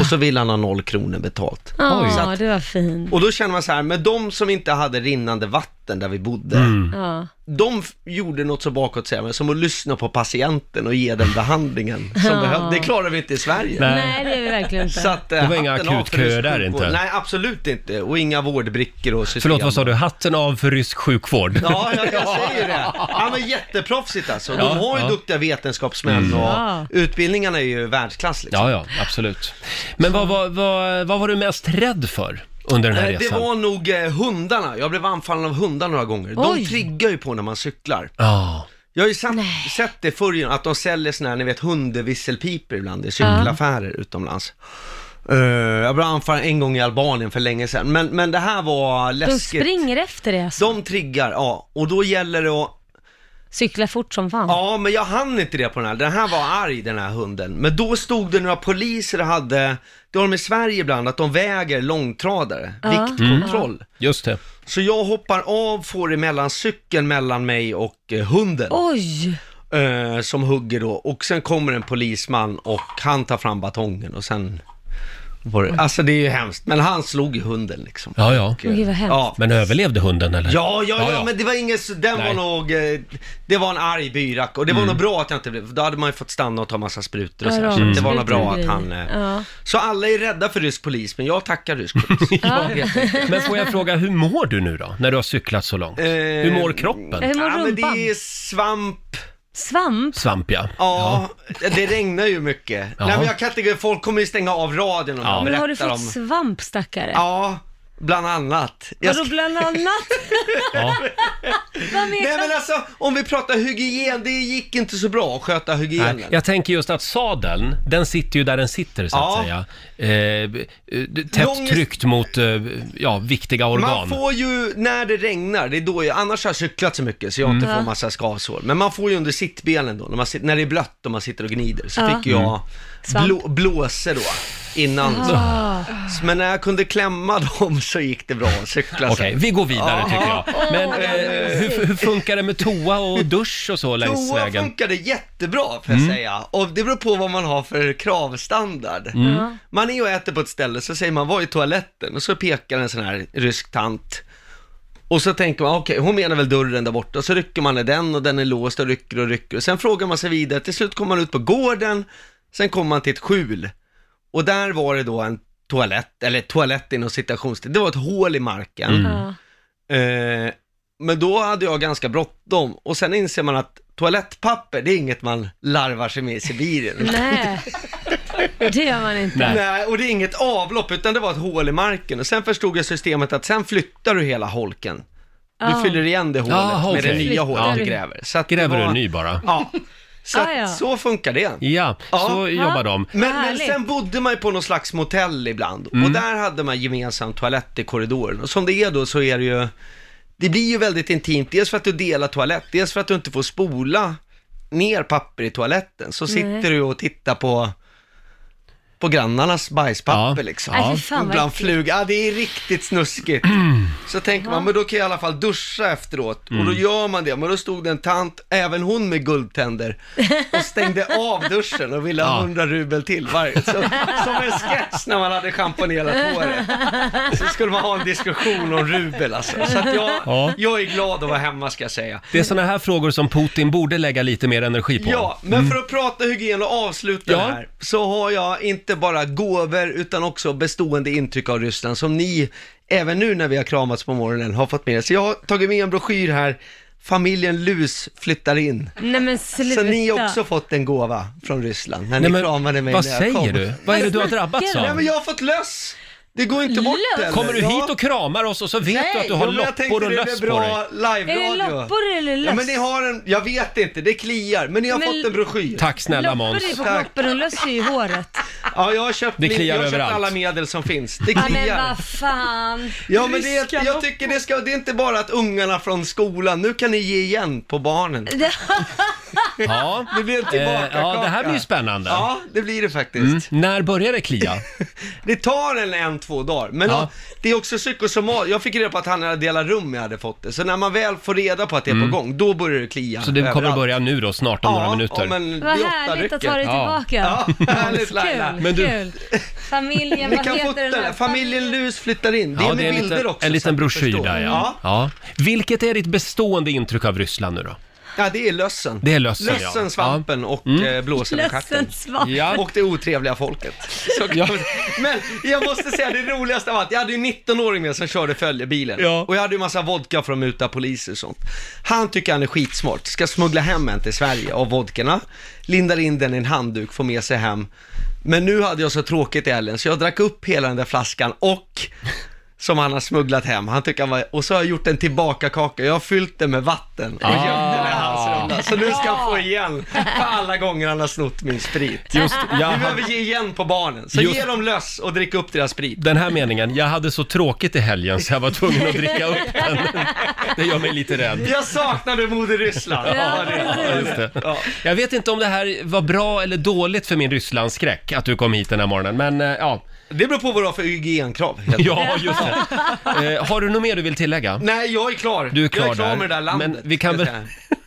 Och så ville han ha noll kronor betalt. Så
Ja,
att,
det var fint.
och då känner man så här, med de som inte hade rinnande vatten där vi bodde,
Mm.
Ja.
de f- gjorde något så bakåt säger man, som att lyssna på patienten och ge den behandlingen som behövde. Det klarar vi inte i Sverige.
Nej.
Nej, det är vi verkligen
Så
inte.
att, eh,
Det var inga
hatten av för rysk
akutköer där
sjukvård.
inte?
Nej, absolut inte. Och inga vårdbrickor och system.
Förlåt, vad sa du? Hatten av för rysk sjukvård.
Ja, jag, jag säger det. Ja, men jätteproffsigt alltså. De
Ja,
har ju
ja. Mm.
duktiga vetenskapsmän och
Ja.
utbildningarna är ju världsklass
Ja,
liksom.
ja, absolut. Men vad, vad, vad, vad var du mest rädd för under den här
Eh, Det
resan?
var nog eh, hundarna. Jag blev anfallen av hundar några gånger.
Oj.
De triggar ju på när man cyklar.
Ja.
Jag har ju satt, sett det förr, ju, att de säljer såna här, ni vet, hundevisselpipor ibland i cykelaffärer utomlands. Eh, jag blev anfallen en gång i Albanien för länge sedan, men, men det här var
De
läskigt.
springer efter det alltså.
De triggar, ja, och då gäller det att,
Cyklar fort som fan.
ja men jag hann inte det på den här, den här var arg den här hunden. Men då stod det några poliser och hade, det har de i Sverige ibland, att de väger långtradare, viktkontroll.
Mm. Just det.
Så jag hoppar av, får emellan cykeln mellan mig och eh, hunden.
Oj!
eh, som hugger då och sen kommer en polisman och han tar fram batongen och sen var det, alltså det är ju hemskt, men han slog ju hunden liksom.
Ja, ja.
Och, eh,
Gud, vad hemskt.
Ja.
Men överlevde hunden eller?
Ja, ja,
Ja,
ja,
ja.
men det var ingen, så- den
Nej. Mm.
var nog, eh, det var en arg byrack och det var nog bra att jag inte blev, för då hade man ju fått stanna och ta massa sprutor och
Ja,
sådär, så
mm.
det var nog bra att
sprutor och
han, eh,
grejer. Ja.
så alla är rädda för rysk polis, men jag tackar rysk polis. ja. helt enkelt.
Men får jag fråga, hur mår du nu då, när du har cyklat så långt?
Eh,
Hur mår kroppen?
Eh, Hur mår
Ja, men det
rumpan?
är svamp,
Svamp?
Svamp, ja.
Ja, det regnar ju mycket.
Jaha.
Nej men jag kan inte, folk kommer ju stänga av radion om
Ja.
jag
Men har du
berättar
fått
om...
svamp stackare?
Ja, Bland annat. Jag
Vadå
ska-
bland annat?
Ja.
Vad
Nej
menar
men
du?
alltså, om vi pratar hygien, det gick inte så bra att sköta hygienen.
Nej, jag tänker just att sadeln, den sitter ju där den sitter så att
Ja.
säga. Eh, eh, tätt
Lång-
tryckt mot eh, ja, viktiga organ.
Man får ju, när det regnar, det är då jag, annars har jag cyklat så mycket så jag inte
Mm.
får massa skavsår. Men man får ju under sittbenen då, när, man, sit- när det är blött och man sitter och gnider, så
Ja. Mm.
fick jag
Svamp.
blå, blåser då, innan.
Ah.
Så, men när jag kunde klämma dem så gick det bra att cykla
Okej,
sen.
vi går vidare tycker jag. Men
Åh,
eh, hur, hur funkar det med toa och dusch och så längs
Toa
vägen? Mm.
funkade jättebra får jag säga. Och det beror på vad man har för kravstandard.
Mm.
Man är och äter på ett ställe så säger man, var är toaletten? Och så pekar en sån här rysk tant. Och så tänker man, okej, hon menar väl dörren där borta. Och så rycker man i den och den är låst och rycker och rycker. Och sen frågar man sig vidare, till slut kommer man ut på gården. Sen kommer man till ett skjul. Och där var det då en toalett, eller toalett inom citationstecken. Det var ett hål i marken.
Mm.
Ja.
Eh, men då hade jag ganska bråttom och sen inser man att toalettpapper, det är inget man larvar sig med i Sibirien.
Nej, det gör man inte.
Nej.
Nej, och det är inget avlopp, utan det var ett hål i marken. Och sen förstod jag systemet att sen flyttar du hela holken. Du
Ah.
fyller igen det hålet
Jaha,
med det
okej.
nya hålet
Ja.
du gräver. Så att det
Gräver du
var-
en ny bara?
Ja. Så, att,
Ah, ja.
så funkar det.
Ja,
Ja.
så jobbar de.
Men, men
Härligt.
sen bodde man ju på någon slags motell ibland
Mm.
och där hade man gemensam toalett i korridoren. Och som det är då så är det ju, det blir ju väldigt intimt, dels för att du delar toalett, dels för att du inte får spola ner papper i toaletten. Så sitter du och tittar på, på grannarnas bajspapper
Ja.
liksom.
Nej, fy fan, vad
Bland
äckligt.
flug, ja det är riktigt snuskigt. Så tänker man, men då kan jag i alla fall duscha efteråt. Och
Mm.
då gör man det, men då stod det en tant, även hon med guldtänder, och stängde av duschen och ville
Ja.
ha 100 rubel till varje. Så, som en sketch när man hade schamponerat håret. Så skulle man ha en diskussion om rubel alltså. Så att jag,
Ja.
jag är glad att vara hemma ska jag säga.
Det är sådana här frågor som Putin borde lägga lite mer energi på.
Ja, men för att prata hygien och avsluta
Mm. Ja.
det här, så har jag inte bara gåvor utan också bestående intryck av Ryssland som ni, även nu när vi har kramats på morgonen, har fått med er. Så jag har tagit med en broschyr här, Familjen Lus flyttar in.
Nej men sluta.
Så ni har också fått en gåva från Ryssland när
Nej,
ni
men,
kramade mig
vad
när jag kom.
säger du? Vad är det du har drabbats
Nej men
av?
jag har fått löss! Det går inte bort
Löss?
heller.
Kommer du
Ja.
hit och kramar oss och så vet
Nej.
du att du har
Jo, men jag
loppor
tänkte
och
det
löss
blir
på dig?
bra live-radio.
Är det loppor eller löss?
Ja, men ni har en, jag vet inte, det kliar, men ni har
Men-
fått en broschyr.
Tack snälla
Loppor
Måns.
är på
Tack.
kroppen och löss är ju i håret.
Ja, jag har köpt,
Det
min-
kliar
jag har köpt
överallt.
alla medel som finns. Det
Ja men
kliar.
vad fan.
Ja, men det,
Ryska
jag tycker det, ska, det är inte bara att ungarna från skolan, nu kan ni ge igen på barnen.
Ja.
Det blir en
Eh,
tillbakakaka.
ja, det här blir ju spännande. Mm.
Ja, det blir det faktiskt.
När börjar det klia?
Det tar en, en två dagar, men
Ja.
ja, det är också psykosomat. Jag fick reda på att han hade delat rum jag hade fått det, så när man väl får reda på att det är på gång, då börjar det klia
Mm. Så det kommer
överallt.
att börja nu då, snart om några minuter.
Ja, men
Vad
det är åtta
härligt att
rycker.
ha dig
Ja.
tillbaka.
Ja, härligt Laila.
Kul,
Men du-
kul. Familjen,
Ni
vad
kan
heter
fota
den här?
den. Familjen Lus flyttar in. Det är
Ja,
med
en
bilder
liten,
också.
En
så att
liten
ni
broschyr
förstår.
där ja.
ja.
ja. Vilket är ditt bestående intryck av Ryssland nu då?
Ja, det är lössen.
Det är lössen, ja.
Lössen, svampen och mm. blåsen och katten.
Lössen Svamp.
Ja.
Och det otrevliga folket. Så kan
Ja.
man- Men jag måste säga det roligaste av allt, jag hade ju 19-åring med som körde följebilen.
Ja.
Och jag hade ju massa vodka för att muta poliser och sånt. Han tycker han är skitsmart, ska smuggla hem en till Sverige av vodkorna, lindar in den i en handduk, får med sig hem. Men nu hade jag så tråkigt i helgen så jag drack upp hela den där flaskan och som han har smugglat hem. Han tycker han var, och så har jag gjort en tillbakakaka. Jag har fyllt den med vatten
Ah.
och gömt den i hans rumla. Så nu ska han få igen för alla gånger han har snott min sprit.
Just, jag,
Vi behöver ge igen på barnen, så
Just-
ge dem löss och drick upp deras sprit.
den här meningen, jag hade så tråkigt i helgen så jag var tvungen att dricka upp den. Det gör mig lite rädd.
Jag saknade moder Ryssland.
Ja,
Ja,
precis.
just det.
Ja.
Jag vet inte om det här var bra eller dåligt för min Rysslandsskräck att du kom hit den här morgonen, men eh, ja.
Det beror på vad du har för hygienkrav. helt enkelt.
Ja, just det. Eh, har du något mer du vill tillägga?
Nej, jag är klar.
Du är klar
jag är klar
där.
med det där landet.
Men vi kan
ska jag
väl-
säga.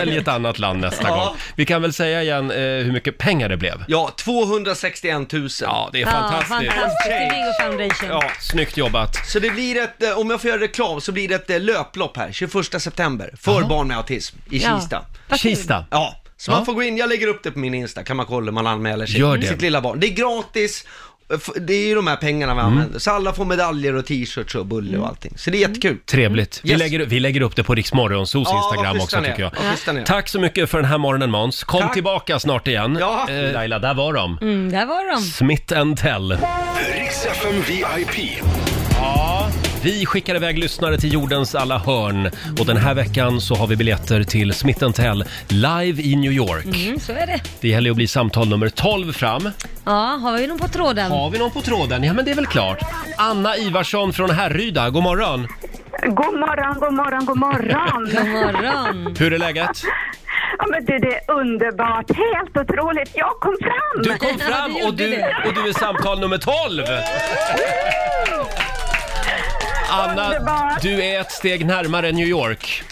Välj ett annat land nästa
Ja.
gång. Vi kan väl säga igen eh, hur mycket pengar det blev.
Ja, 261 000.
Ja, det är
Ja,
fantastiskt.
fantastiskt. Det är Bingo Foundation.
Ja.
Snyggt jobbat.
Så det blir ett, eh, om jag får göra reklam, så blir det ett eh, löplopp här 21 september för barn med autism i
Ja.
Kista.
Vad kul.
Kista.
Ja, så
Ja.
man får gå in, jag lägger upp det på min Insta, kan man kolla om man anmäler sig.
Gör det.
Sitt lilla barn. Det är gratis, f- det är ju de här pengarna
Mm.
vi använder. Så alla får medaljer och t-shirts och bulle
Mm.
och allting. Så det är jättekul.
Trevligt. Vi,
Yes.
lägger, vi lägger upp det på Riksmorgonsos
Ja,
Instagram också
vad schyssta ni är.
tycker jag.
Vad schyssta ni är.
Tack så mycket för den här morgonen Måns. Kom
Tack.
tillbaka snart igen.
Ja.
Eh, Laila, Mm, där var de.
Mm, där var de.
Smith Tell.
Riks FM VIP.
Vi skickar iväg lyssnare till jordens alla hörn och den här veckan så har vi biljetter till Smith Tell live i New York.
Mm, så är det.
Det gäller att bli samtal nummer 12 fram.
Ja, har vi någon på tråden?
Har vi någon på tråden? Ja, men det är väl klart. Anna Ivarsson från Härryda, god morgon.
God morgon, god morgon, god morgon!
God morgon.
Hur är läget?
ja, men du, det är underbart. Helt otroligt. Jag kom fram!
Du kom
Ja,
fram
du
och
gjorde
du,
det.
och du är samtal nummer 12! Anna,
Underbart.
du är ett steg närmare New York.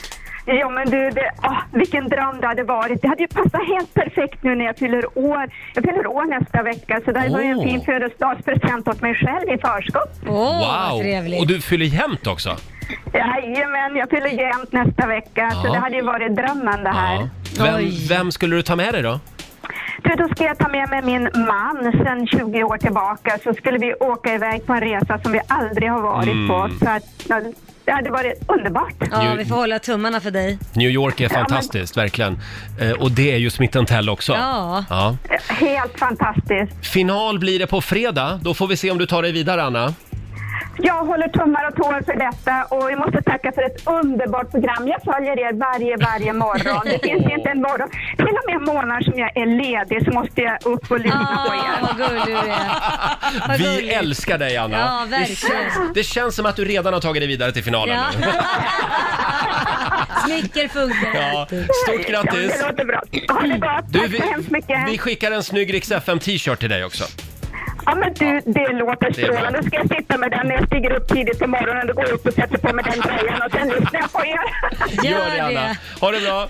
Ja, men du, det, åh, vilken dröm det hade varit. Det hade ju passat helt perfekt nu när jag fyller år. Jag fyller år nästa vecka, så det här var ju en
Åh.
fin födelsedagspresent åt mig själv i förskott.
Åh, oh, vad
Wow!
trevligt.
Och du fyller jämnt också.
Jajamän, jag fyller jämnt nästa vecka,
Ja.
så det hade ju varit drömmen det här.
Ja. Vem,
Oj.
vem skulle du ta med dig då?
Du, då ska jag ta med mig min man sen 20 år tillbaka så skulle vi åka iväg på en resa som vi aldrig har varit på. Så att, ja, det hade varit underbart.
Ja, vi får hålla tummarna för dig.
New York är fantastiskt, verkligen. Eh, Och det är ju Smith Tell också.
Ja.
ja.
Helt fantastiskt.
Final blir det på fredag. Då får vi se om du tar dig vidare, Anna.
Jag håller tummar och tår för detta och vi måste tacka för ett underbart program. Jag följer er varje, varje morgon. Det finns inte en morgon. Till och med månader som jag är ledig så måste jag upp och lyssna på
Ah,
er.
vad gullig du är. Vad
Vi
gulligt.
älskar dig, Anna.
Ja,
Det
verkligen.
känns- Det känns som att du redan har tagit dig vidare till finalen
Ja.
nu.
Smicker funkar
Ja,
alltid.
stort
Ja,
grattis!
det låter bra. Ha det gott.
Du,
Tack
vi,
så hemskt mycket.
vi skickar en snygg Rix FM t-shirt till dig också.
Ja men du, det låter
Det är bra.
strålande. Då ska jag sitta med den när jag stiger upp tidigt på morgonen. Då går jag upp och sätter på mig den tröjan och sen lyssnar jag på er.
Gör
Anna.
det.
Ha det bra!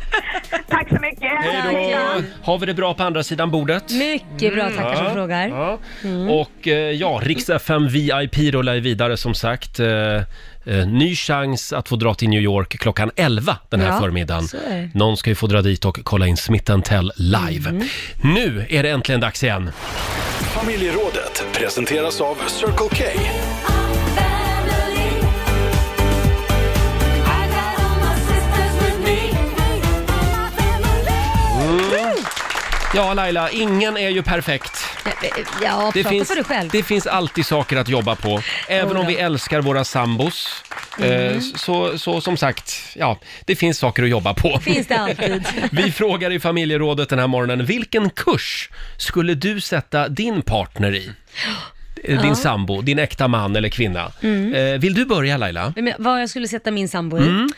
Tack så mycket.
Hej då!
Tack.
Har vi det bra på andra sidan bordet?
Mycket bra, tackar som frågar. Mm.
Ja. Och eh, ja, Rix FM VIP rullar ju vidare som sagt. Eh, eh, Ny chans att få dra till New York klockan 11 den här
Ja,
förmiddagen.
så är det.
Någon ska ju få dra dit och kolla in Smith Tell live.
Mm.
Nu är det äntligen dags igen.
Familjerådet presenteras av Circle K.
Ja, Laila, ingen är ju perfekt.
Ja,
Det
prata för dig själv.
det finns alltid saker att jobba på. Även om vi älskar våra sambos. eh,
Mm.
Så, så som sagt, ja, det finns saker att jobba på.
Finns det alltid.
Vi frågar i familjerådet den här morgonen, vilken kurs skulle du sätta din partner i? Eh, Din sambo, din äkta man eller kvinna.
Mm.
Eh, Vill du börja Laila?
Men vad jag skulle sätta min sambo i?
Mm.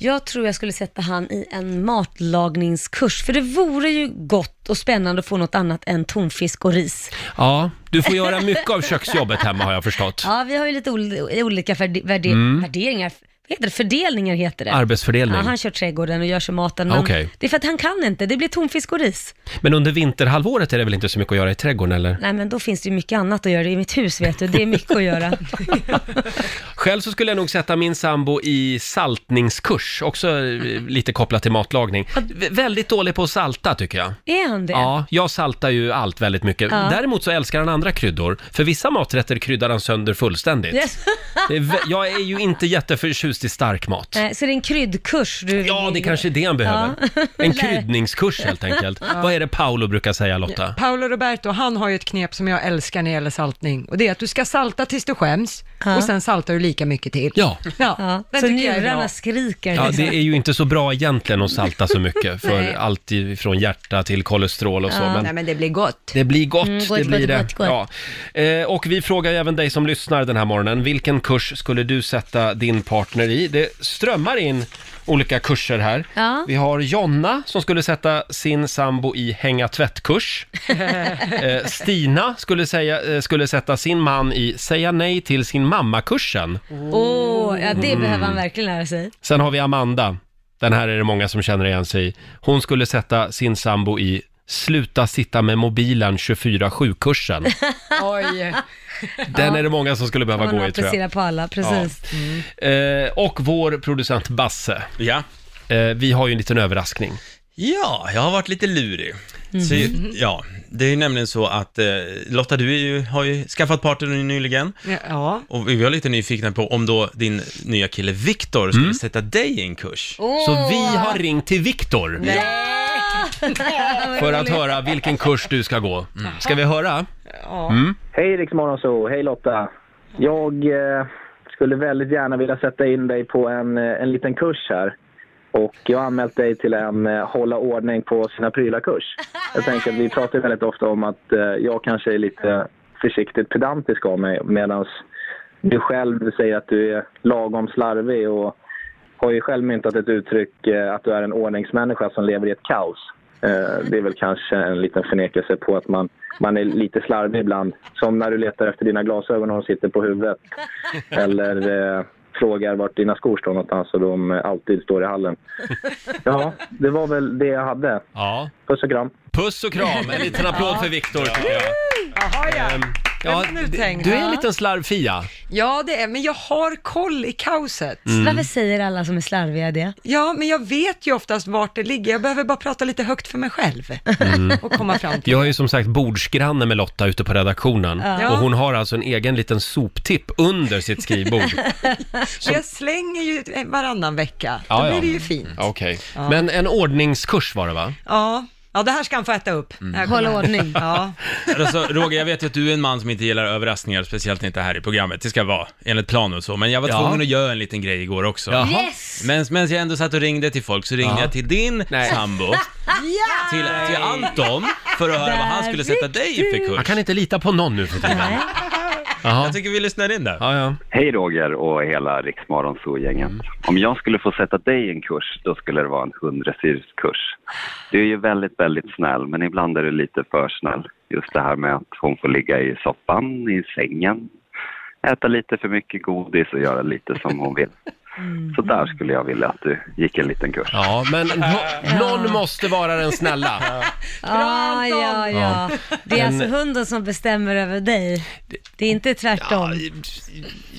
Jag tror jag skulle sätta han i en matlagningskurs, för det vore ju gott och spännande att få något annat än tonfisk och ris.
Ja, du får göra mycket av köksjobbet hemma har jag förstått.
Ja, vi har ju lite ol- olika värde- värde-
Mm.
värderingar. Vad heter det? Fördelningar heter det.
Arbetsfördelning.
Ja, han kör trädgården och gör sig maten.
Ah,
men
okej.
Det är för att han kan inte, det blir tonfisk och ris.
Men under vinterhalvåret är det väl inte så mycket att göra i trädgården eller?
Nej men då finns det ju mycket annat att göra i mitt hus vet du, det är mycket att göra.
Själv så skulle jag nog sätta min sambo i saltningskurs, också eh,
Mm-hmm.
lite kopplat till matlagning. Vä- väldigt dålig på att salta tycker jag.
Är han det?
Ja, jag saltar ju allt väldigt mycket. Däremot så älskar han andra kryddor. För vissa maträtter kryddar han sönder fullständigt.
Yes.
Det är vä- jag är ju inte jätteförtjust i stark mat.
Nej, Så det är en kryddkurs du
Ja,
vill-
det kanske är det han behöver.
Ja.
En kryddningskurs helt enkelt. Vad är det Paolo brukar säga Lotta?
Paolo Roberto, han har ju ett knep som jag älskar när det gäller saltning och det är att du ska salta tills du skäms
Ja.
och sen saltar du lika mycket till.
Ja.
ja,
Ja,
den
så
tycker jag är bra.
njurarna skriker.
Ja,
liksom.
det är ju inte så bra egentligen att salta så mycket, för
Nej.
allt från hjärta till kolesterol och så. Men
Nej men det blir gott.
Det blir gott,
Mm, gott,
det blir
gott,
det.
gott, gott.
Ja. Eh, och vi frågar ju även dig som lyssnar den här morgonen, vilken kurs skulle du sätta din partner i? Det strömmar in olika kurser här.
Ja.
Vi har Jonna som skulle sätta sin sambo i hänga tvättkurs. eh, Stina skulle, säga, eh, skulle sätta sin man i säga nej till sin mammakursen.
Åh, ja,
Mm.
det behöver han verkligen lära sig.
Sen har vi Amanda, den här är det många som känner igen sig i. Hon skulle sätta sin sambo i sluta sitta med mobilen 24-7-kursen.
Oj.
Den är det många som skulle behöva
Man
gå i tror jag.
applicerar på alla, precis. Mm.
Eh, och vår producent Basse.
Ja.
Eh, vi har ju en liten överraskning.
Ja, jag har varit lite lurig.
Mm.
Så, ja, det är ju nämligen så att eh, Lotta, du är ju, har ju skaffat partner nyligen
Ja.
och vi var lite nyfikna på om då din nya kille Viktor skulle sätta dig i en kurs.
Åh,
Mm. Så vi har ringt till Viktor för att höra vilken kurs du ska gå.
Mm.
Ska vi höra? Mm.
Hej Riksmorgonzoo, hej Lotta. Jag eh, skulle väldigt gärna vilja sätta in dig på en, eh, en liten kurs här. Och jag har anmält dig till en eh, hålla ordning på sina prylar-kurs. Jag tänker att vi pratar väldigt ofta om att eh, jag kanske är lite försiktigt pedantisk av mig medan du själv säger att du är lagom slarvig och har ju själv myntat ett uttryck eh, att du är en ordningsmänniska som lever i ett kaos. Eh, Det är väl kanske en liten förnekelse på att man, man är lite slarvig ibland. Som när du letar efter dina glasögon och de sitter på huvudet. Eller eh, frågar vart dina skor står någonstans och de eh, alltid står i hallen. Ja, det var väl det jag hade.
Ja.
Puss och kram.
Puss och kram, en liten applåd för Viktor tycker jag. Ehm,
Jaha ja.
Ja,
men nu
d-
tänk-
du är en
Ja.
liten slarvfia.
Ja, det är, men jag har koll i kaoset.
Mm.
Varför säger alla som är slarviga det?
Ja, men jag vet ju oftast vart det ligger. Jag behöver bara prata lite högt för mig själv
Mm.
och komma fram till
Jag är ju som sagt bordsgranne med Lotta ute på redaktionen
Ja.
och hon har alltså en egen liten soptipp under sitt skrivbord.
det. Jag slänger ju varannan vecka. Då
Ja, ja.
blir det ju fint. Ja.
Okej. Men en ordningskurs var det va?
ja. det här ska han få äta upp.
Mm.
när jag
Håll
kommer.
ordning.
Ja.
Alltså, Roger, jag vet ju att du är en man som inte gillar överraskningar, speciellt inte här i programmet. Det ska vara enligt plan och så, men jag var
Ja.
tvungen att göra en liten grej igår också.
Ja. Jaha.
Yes!
Men medan jag ändå satt och ringde till folk så ringde jag till din sambo, till, till Anton, för att höra vad han
Där
skulle sätta dig i för
Man
kurs.
kan inte lita på någon nu för tiden. Jaha.
Jag tycker vi lyssnar in där.
Ja, ja.
Hej Roger och hela Riksmorgonzoo-gänget. Om jag skulle få sätta dig i en kurs, då skulle det vara en hundrasyrskurs. Du är ju väldigt, väldigt snäll, men ibland är du lite för snäll. Just det här med att hon får ligga i soffan, i sängen, äta lite för mycket godis och göra lite som hon vill. Så där skulle jag vilja att du gick en liten kurs.
ja men nå- någon måste vara den snälla.
Ah, ja, ja. Det är
Men-
alltså hunden som bestämmer över dig. Det är inte tvärtom.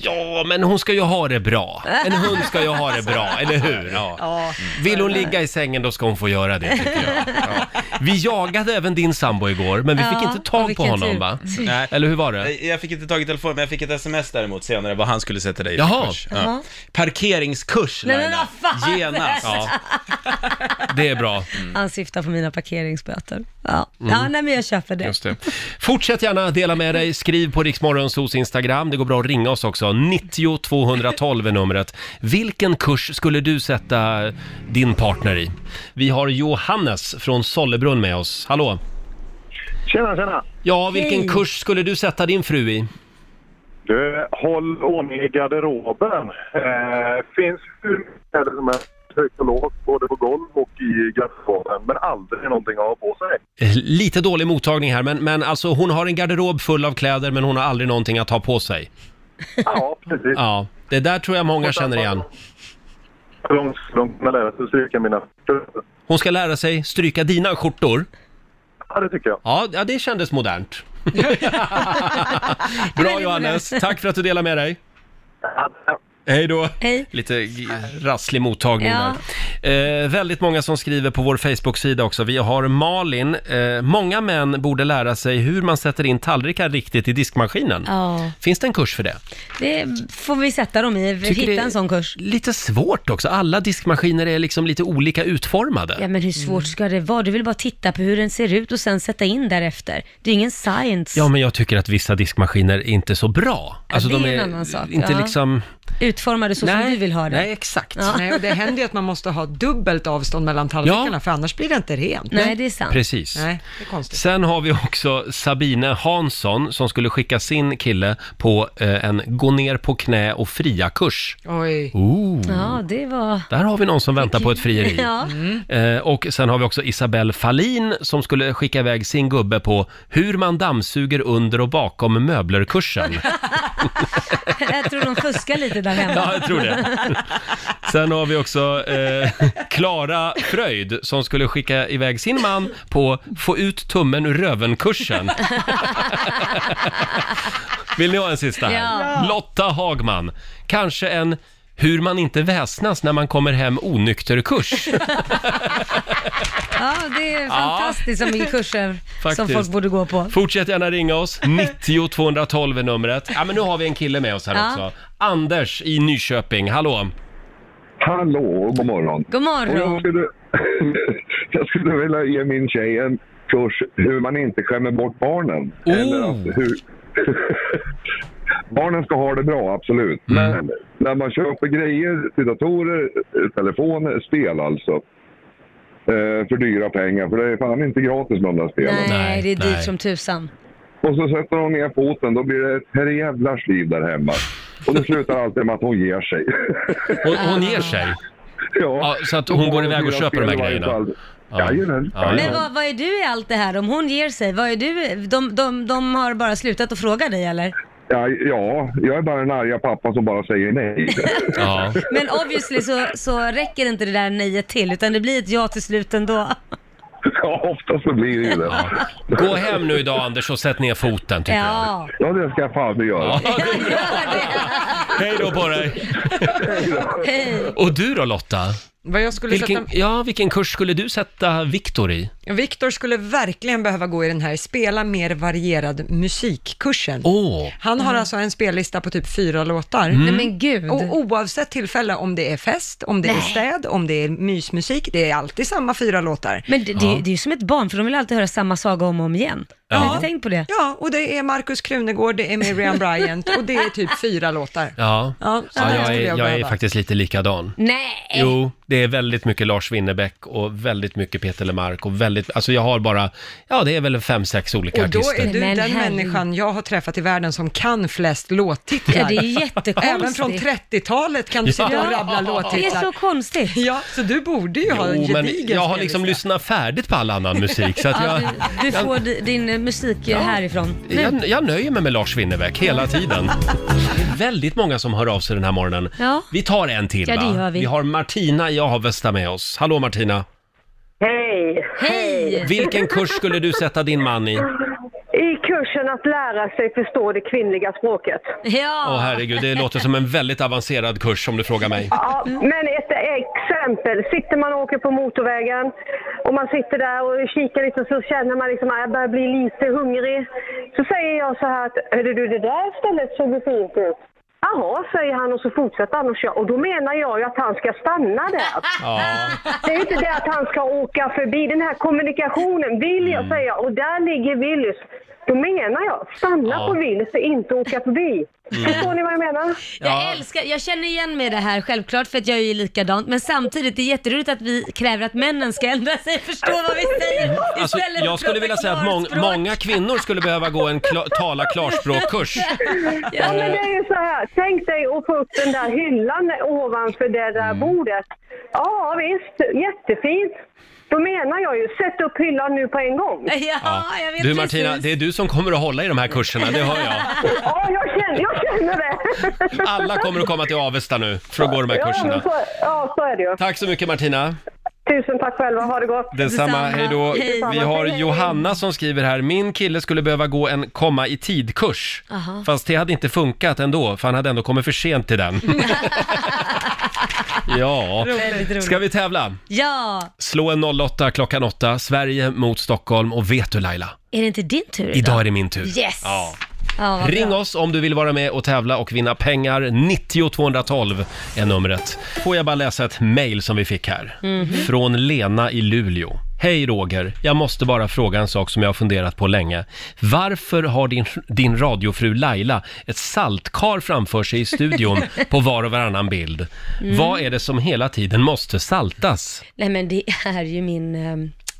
Ja, men hon ska ju ha det bra. En hund ska ju ha det bra, eller hur? Ja. Vill hon ligga i sängen då ska hon få göra det, tycker jag. Ja. Vi jagade även din sambo igår, men vi fick
Ja,
inte
och
tag på
vilken
honom,
tur.
va?
Nej.
Eller hur var det?
Jag fick inte tag i telefon, men jag fick ett sms däremot senare vad han skulle sätta dig i
Jaha.
för kurs. Ja. Parkeringskurs,
Nej, men
Laila.
vad fan!
Genast.
Ja. Det är bra.
Han syftar på mina parkeringsböter. Ja,
Mm.
ja nej, men jag köper det.
Just det. Fortsätt gärna dela med dig. Skriv på Riksmorgonsos Instagram. Det går bra att ringa oss också. 90 212 är numret. Vilken kurs skulle du sätta din partner i? Vi har Johannes från Sollebrunn med oss. Hallå!
Tjena, tjena!
Ja, vilken
Hej.
kurs skulle du sätta din fru i?
Du, håll ordning i garderoben. Eh, finns hur mycket kläder som helst högt och lågt, både på golv och i garderoben, men aldrig någonting att ha på sig.
Eh, Lite dålig mottagning här, men, men alltså hon har en garderob full av kläder men hon har aldrig någonting att ha på sig.
Ja, precis.
Ja, det där tror jag många känner igen.
De skulle kunna lära sig att stryka mina fötter.
Hon ska lära sig stryka dina skjortor.
Ja, det tycker jag.
Ja, ja det kändes modernt. Bra Johannes, tack för att du delade med dig. Hej då!
Hej.
Lite g- rasslig mottagning
Ja.
där. Eh, väldigt många som skriver på vår Facebook-sida också. Vi har Malin. Eh, många män borde lära sig hur man sätter in tallrikar riktigt i diskmaskinen.
Ja,
Finns det en kurs för det?
det får vi sätta dem i. Vi
Tycker
hittar
det-
en sån kurs.
Lite svårt också. Alla diskmaskiner är liksom lite olika utformade.
Ja, men hur
Mm.
svårt ska det vara? Du vill bara titta på hur den ser ut och sen sätta in därefter. Det är ingen science.
Ja, men jag tycker att vissa diskmaskiner är inte så bra. Alltså
det är
de
en
är
annan sak,
inte
ja.
liksom...
Utformade så som du vill ha det.
Nej, exakt.
Nej, och det händer ju att man måste ha dubbelt avstånd mellan tallrikarna,
Ja.
för annars blir det inte rent.
Nej, det är sant.
Precis.
Nej, det är konstigt.
Sen har vi också Sabine Hansson som skulle skicka sin kille på eh, en gå ner på knä och fria-kurs.
Oj.
Ooh.
Ja, det var...
Där har vi någon som väntar Oh. på ett frieri.
Ja.
Eh, och sen har vi också Isabelle Fallin som skulle skicka iväg sin gubbe på hur man dammsuger under och bakom möblerkursen.
Jag tror de fuskar lite där hemma.
Ja, jag tror det. Sen har vi också eh, Klara Fröjd som skulle skicka iväg sin man på få ut tummen ur röven-kursen. Vill ni ha en sista? här?
Ja.
Lotta Hagman. Kanske en hur man inte väsnas när man kommer hem onykter-kurs.
Ja, det är fantastiskt som min kurser som
Faktiskt.
folk borde gå på.
Fortsätt gärna ringa oss. 90 212 är numret. Ja, men nu har vi en kille med oss här
Ja.
också. Anders i Nyköping. Hallå!
Hallå och god morgon.
God
Och jag,
morgon.
skulle, jag skulle vilja ge min tjej en
Oh.
kurs hur man inte skämmer bort barnen.
Oh.
Eller att hur,
Barnen ska ha det bra, absolut.
Mm.
Men när man köper grejer till datorer, eh, telefoner, spel alltså. Eh, för dyra pengar, för det är fan inte gratis med de där spelen.
Nej, det är dyrt som tusan.
Och så sätter hon ner foten, då blir det ett herrejävlars liv där hemma. Och det slutar alltid med att hon ger sig.
Hon, hon ger sig?
Ja.
så att hon går iväg och
fyra
köper de här
spel i varje
grejerna?
fall.
Ja.
Jajamän.
Ja,
Men vad, vad är du i allt det här? Om hon ger sig, vad är du? De, de, de har bara slutat att fråga dig eller?
Ja, ja, jag är bara den arga pappan som bara säger nej.
Ja.
Men obviously så, så räcker inte det där nejet till utan det blir ett ja till slut ändå.
ja, oftast så blir det ju det.
Gå hem nu idag Anders och sätt ner foten tycker jag.
Ja.
Ja, det ska jag fan göra.
Hej då på dig! Och du då Lotta?
Vad jag skulle
Vilken,
sätta...
ja, vilken kurs skulle du sätta Viktor i?
Viktor skulle verkligen behöva gå i den här spela mer varierad musikkursen.
Åh! Mm.
Han har alltså en spellista på typ fyra låtar.
Mm. Nej men gud.
Och oavsett tillfälle, om det är fest, om det är städ, om det är mysmusik, det är alltid samma fyra låtar.
Men det, det, det är ju som ett barn för de vill alltid höra samma saga om och om igen. Har ni inte tänkt på det?
Ja, och det är Markus Krunegård, det är Miriam Bryant och det är typ fyra låtar.
Ja,
Ja, så
ja
den
jag,
skulle
är,
jag
jag är
behöva.
faktiskt lite likadan.
Nej!
Jo, det är väldigt mycket Lars Winnerbäck och väldigt mycket Peter Lemark och väldigt, alltså jag har bara, ja det är väl fem, sex olika
Och då
artister.
är du
Men
den
herregud.
människan jag har träffat i världen som kan flest
Ja,
låttitlar.
det är jättekonstigt.
Även från 30-talet kan du sitta och rabbla
Det är
låttitlar.
så konstigt.
Ja, så du borde ju ha en
Jo, men
gedigen
jag har liksom
spellista.
lyssnat färdigt på all annan musik så att jag,
Ja, du, du får di- din eh, musik eh, härifrån. Nu.
jag, jag nöjer mig med Lars Winnerbäck hela tiden. Det är väldigt många som hör av sig den här morgonen.
Ja.
Vi tar en till
Ja,
va?
det gör vi.
vi har Martina i Avesta med oss. Hallå Martina!
Hej!
Hej!
Vilken kurs skulle du sätta din man i?
I kursen att lära sig förstå det kvinnliga språket.
Åh
Ja,
herregud, det låter som en väldigt avancerad kurs om du frågar mig.
Ja, men ett exempel. Sitter man och åker på motorvägen och man sitter där och kikar lite och så känner man liksom att jag börjar bli lite hungrig. Så säger jag så här att, hörde du det där stället såg ju fint ut. Jaha, säger han och så fortsätter han att köra. Och då menar jag ju att han ska stanna där.
Ja.
Det är ju inte det att han ska åka förbi. Den här kommunikationen, vill jag
Mm.
säga, och där ligger Willys. Då menar jag, stanna
Ja. Mm.
på Willys och inte åka förbi. Förstår ni vad jag menar?
jag älskar, jag känner igen mig i det här självklart för att jag är ju likadant men samtidigt det är jätteroligt att vi kräver att männen ska ändra sig, förstå vad vi säger
Alltså,
istället för
jag
att
skulle
prata
vilja säga att mång,
klarspråk.
många kvinnor skulle behöva gå en kla, tala klarspråkkurs.
Ja, men det är ju så här. Tänk dig att få upp den där hyllan ovanför det där
Mm.
bordet. Ja, visst. Jättefint. Då menar jag ju, sätt upp hyllan nu på en gång.
Ja, jag vet
Du Martina,
precis.
det är du som kommer att hålla i de här kurserna, det hör jag.
Ja, jag känner, jag känner det.
Alla kommer att komma till Avesta nu för att gå de här
Ja, men
kurserna.
så, ja, så är det ju.
Tack så mycket Martina.
Tusen tack själva. Ha det gott.
Detsamma,
Detsamma.
hej då.
Hej.
Vi har Johanna som skriver här, min kille skulle behöva gå en komma i tid-kurs.
Aha.
Fast det hade inte funkat ändå, för han hade ändå kommit för sent till den. ja,
Väldigt roligt.
ska vi tävla?
Ja,
Slå en 08 klockan 8, Sverige mot Stockholm och vet du Laila?
är det inte din tur idag?
Idag är det min tur.
Yes!
Ja.
Ja, vad
Ring
bra.
oss om du vill vara med och tävla och vinna pengar. 90 212 är numret. Får jag bara läsa ett mejl som vi fick här. Från Lena i Luleå. Hej Roger, jag måste bara fråga en sak som jag har funderat på länge. Varför har din, din radiofru Laila ett saltkar framför sig i studion på var och varannan bild? Vad är det som hela tiden måste saltas?
Nej men det är ju min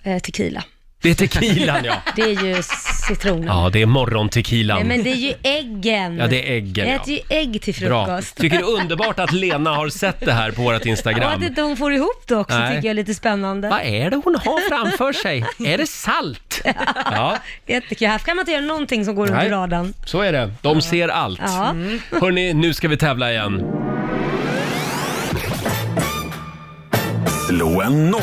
eh, tequila.
Det är tequilan ja!
Det är ju citronen.
Ja, det är morgontequilan.
Nej men det är ju äggen.
Ja, det är äggen,
Jag
ja.
äter ju ägg till
Bra.
frukost.
Tycker det är underbart att Lena har sett det här på vårt
Och
Instagram.
att inte hon får ihop det också
Nej.
tycker jag är lite spännande.
Vad är det hon har framför sig? Är det salt? Ja,
Jättekul. Här kan man inte göra någonting som går under
Nej. Mm.
radarn.
så är det. De ser allt.
Ja.
Hörni, nu ska vi tävla igen.
Slå en 08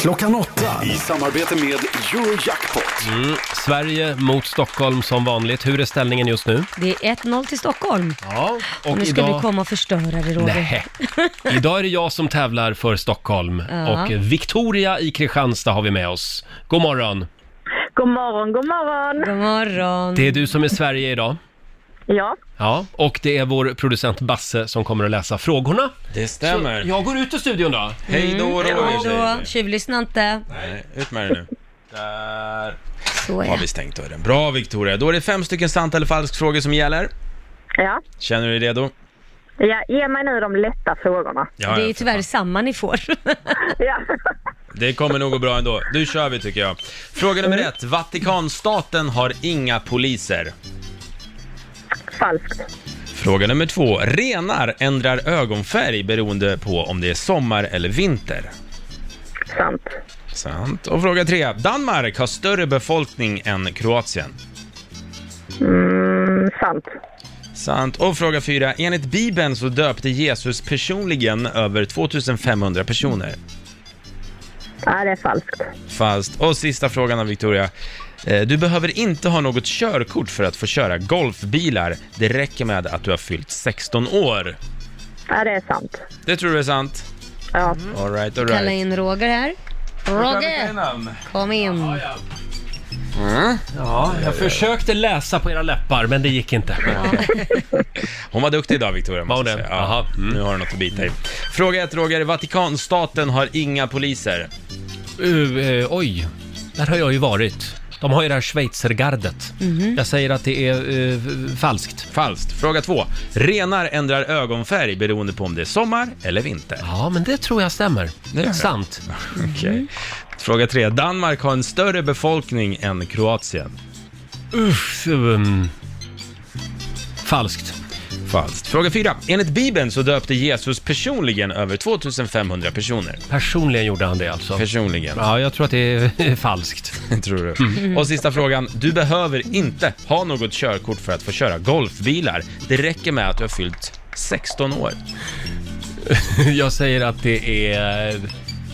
klockan 8 i samarbete med Eurojackpot.
Mm. Sverige mot Stockholm som vanligt. Hur är ställningen just nu?
Det är 1-0 till Stockholm.
Ja, och
nu ska
idag...
du komma och förstöra det Roger.
Nej. Idag är det jag som tävlar för Stockholm
Ja.
och Victoria i Kristianstad har vi med oss. God morgon!
God morgon, god morgon.
God morgon.
Det är du som är Sverige idag.
Ja.
Ja, och det är vår producent Basse som kommer att läsa frågorna.
Det stämmer.
Jag går ut ur studion då.
Hej då Roger säger
Mm. Då,
vi.
tjuvlyssna inte.
Nej, ut med det nu. Där
Så
har
ja.
vi stängt dörren. Bra Victoria, då är det fem stycken sant eller falskt frågor som gäller.
Ja.
Känner du dig redo?
ja, ge mig nu de lätta frågorna.
Ja,
det är
ja,
ju tyvärr samma ni får.
Det kommer nog gå bra ändå. Du kör vi tycker jag. Fråga nummer ett. Vatikanstaten har inga poliser.
Falskt.
Fråga nummer två. Renar ändrar ögonfärg beroende på om det är sommar eller vinter.
Sant.
Sant. Och fråga tre. Danmark har större befolkning än Kroatien.
Mm, sant.
Sant. Och fråga fyra. Enligt Bibeln så döpte Jesus personligen över 2500 personer.
Nej, det är falskt.
Falskt. Och sista frågan av Victoria. Eh, Du behöver inte ha något körkort för att få köra golfbilar. Det räcker med att du har fyllt 16 år.
Nej, det är sant.
Det tror du är sant? Mm.
Ja.
All right, all
Kalla
right.
in Roger här. Roger! Kom in.
Mm.
Ja, jag försökte läsa på era läppar, men det gick inte.
Hon var duktig idag Victoria, måste jag säga. Ja,
Mm.
nu har du något att bita i. Fråga ett Roger. Vatikanstaten har inga poliser.
Uh, eh, oj, där har jag ju varit. De har ju det här schweizergardet.
Mhm.
Jag säger att det är eh, falskt.
Falskt. Fråga två. Renar ändrar ögonfärg beroende på om det är sommar eller vinter.
Ja, men det tror jag stämmer.
Det gör det.
Sant.
Okej. Fråga tre. Danmark har en större befolkning än Kroatien.
Uff, um, falskt.
Falskt. Fråga fyra. Enligt Bibeln så döpte Jesus personligen över 2500 personer.
Personligen gjorde han det alltså.
Personligen.
Ja, jag tror att det är eh, falskt. Mm.
Tror du? Mm. Och sista frågan. Du behöver inte ha något körkort för att få köra golfbilar. Det räcker med att du har fyllt 16 år.
Jag säger att det är...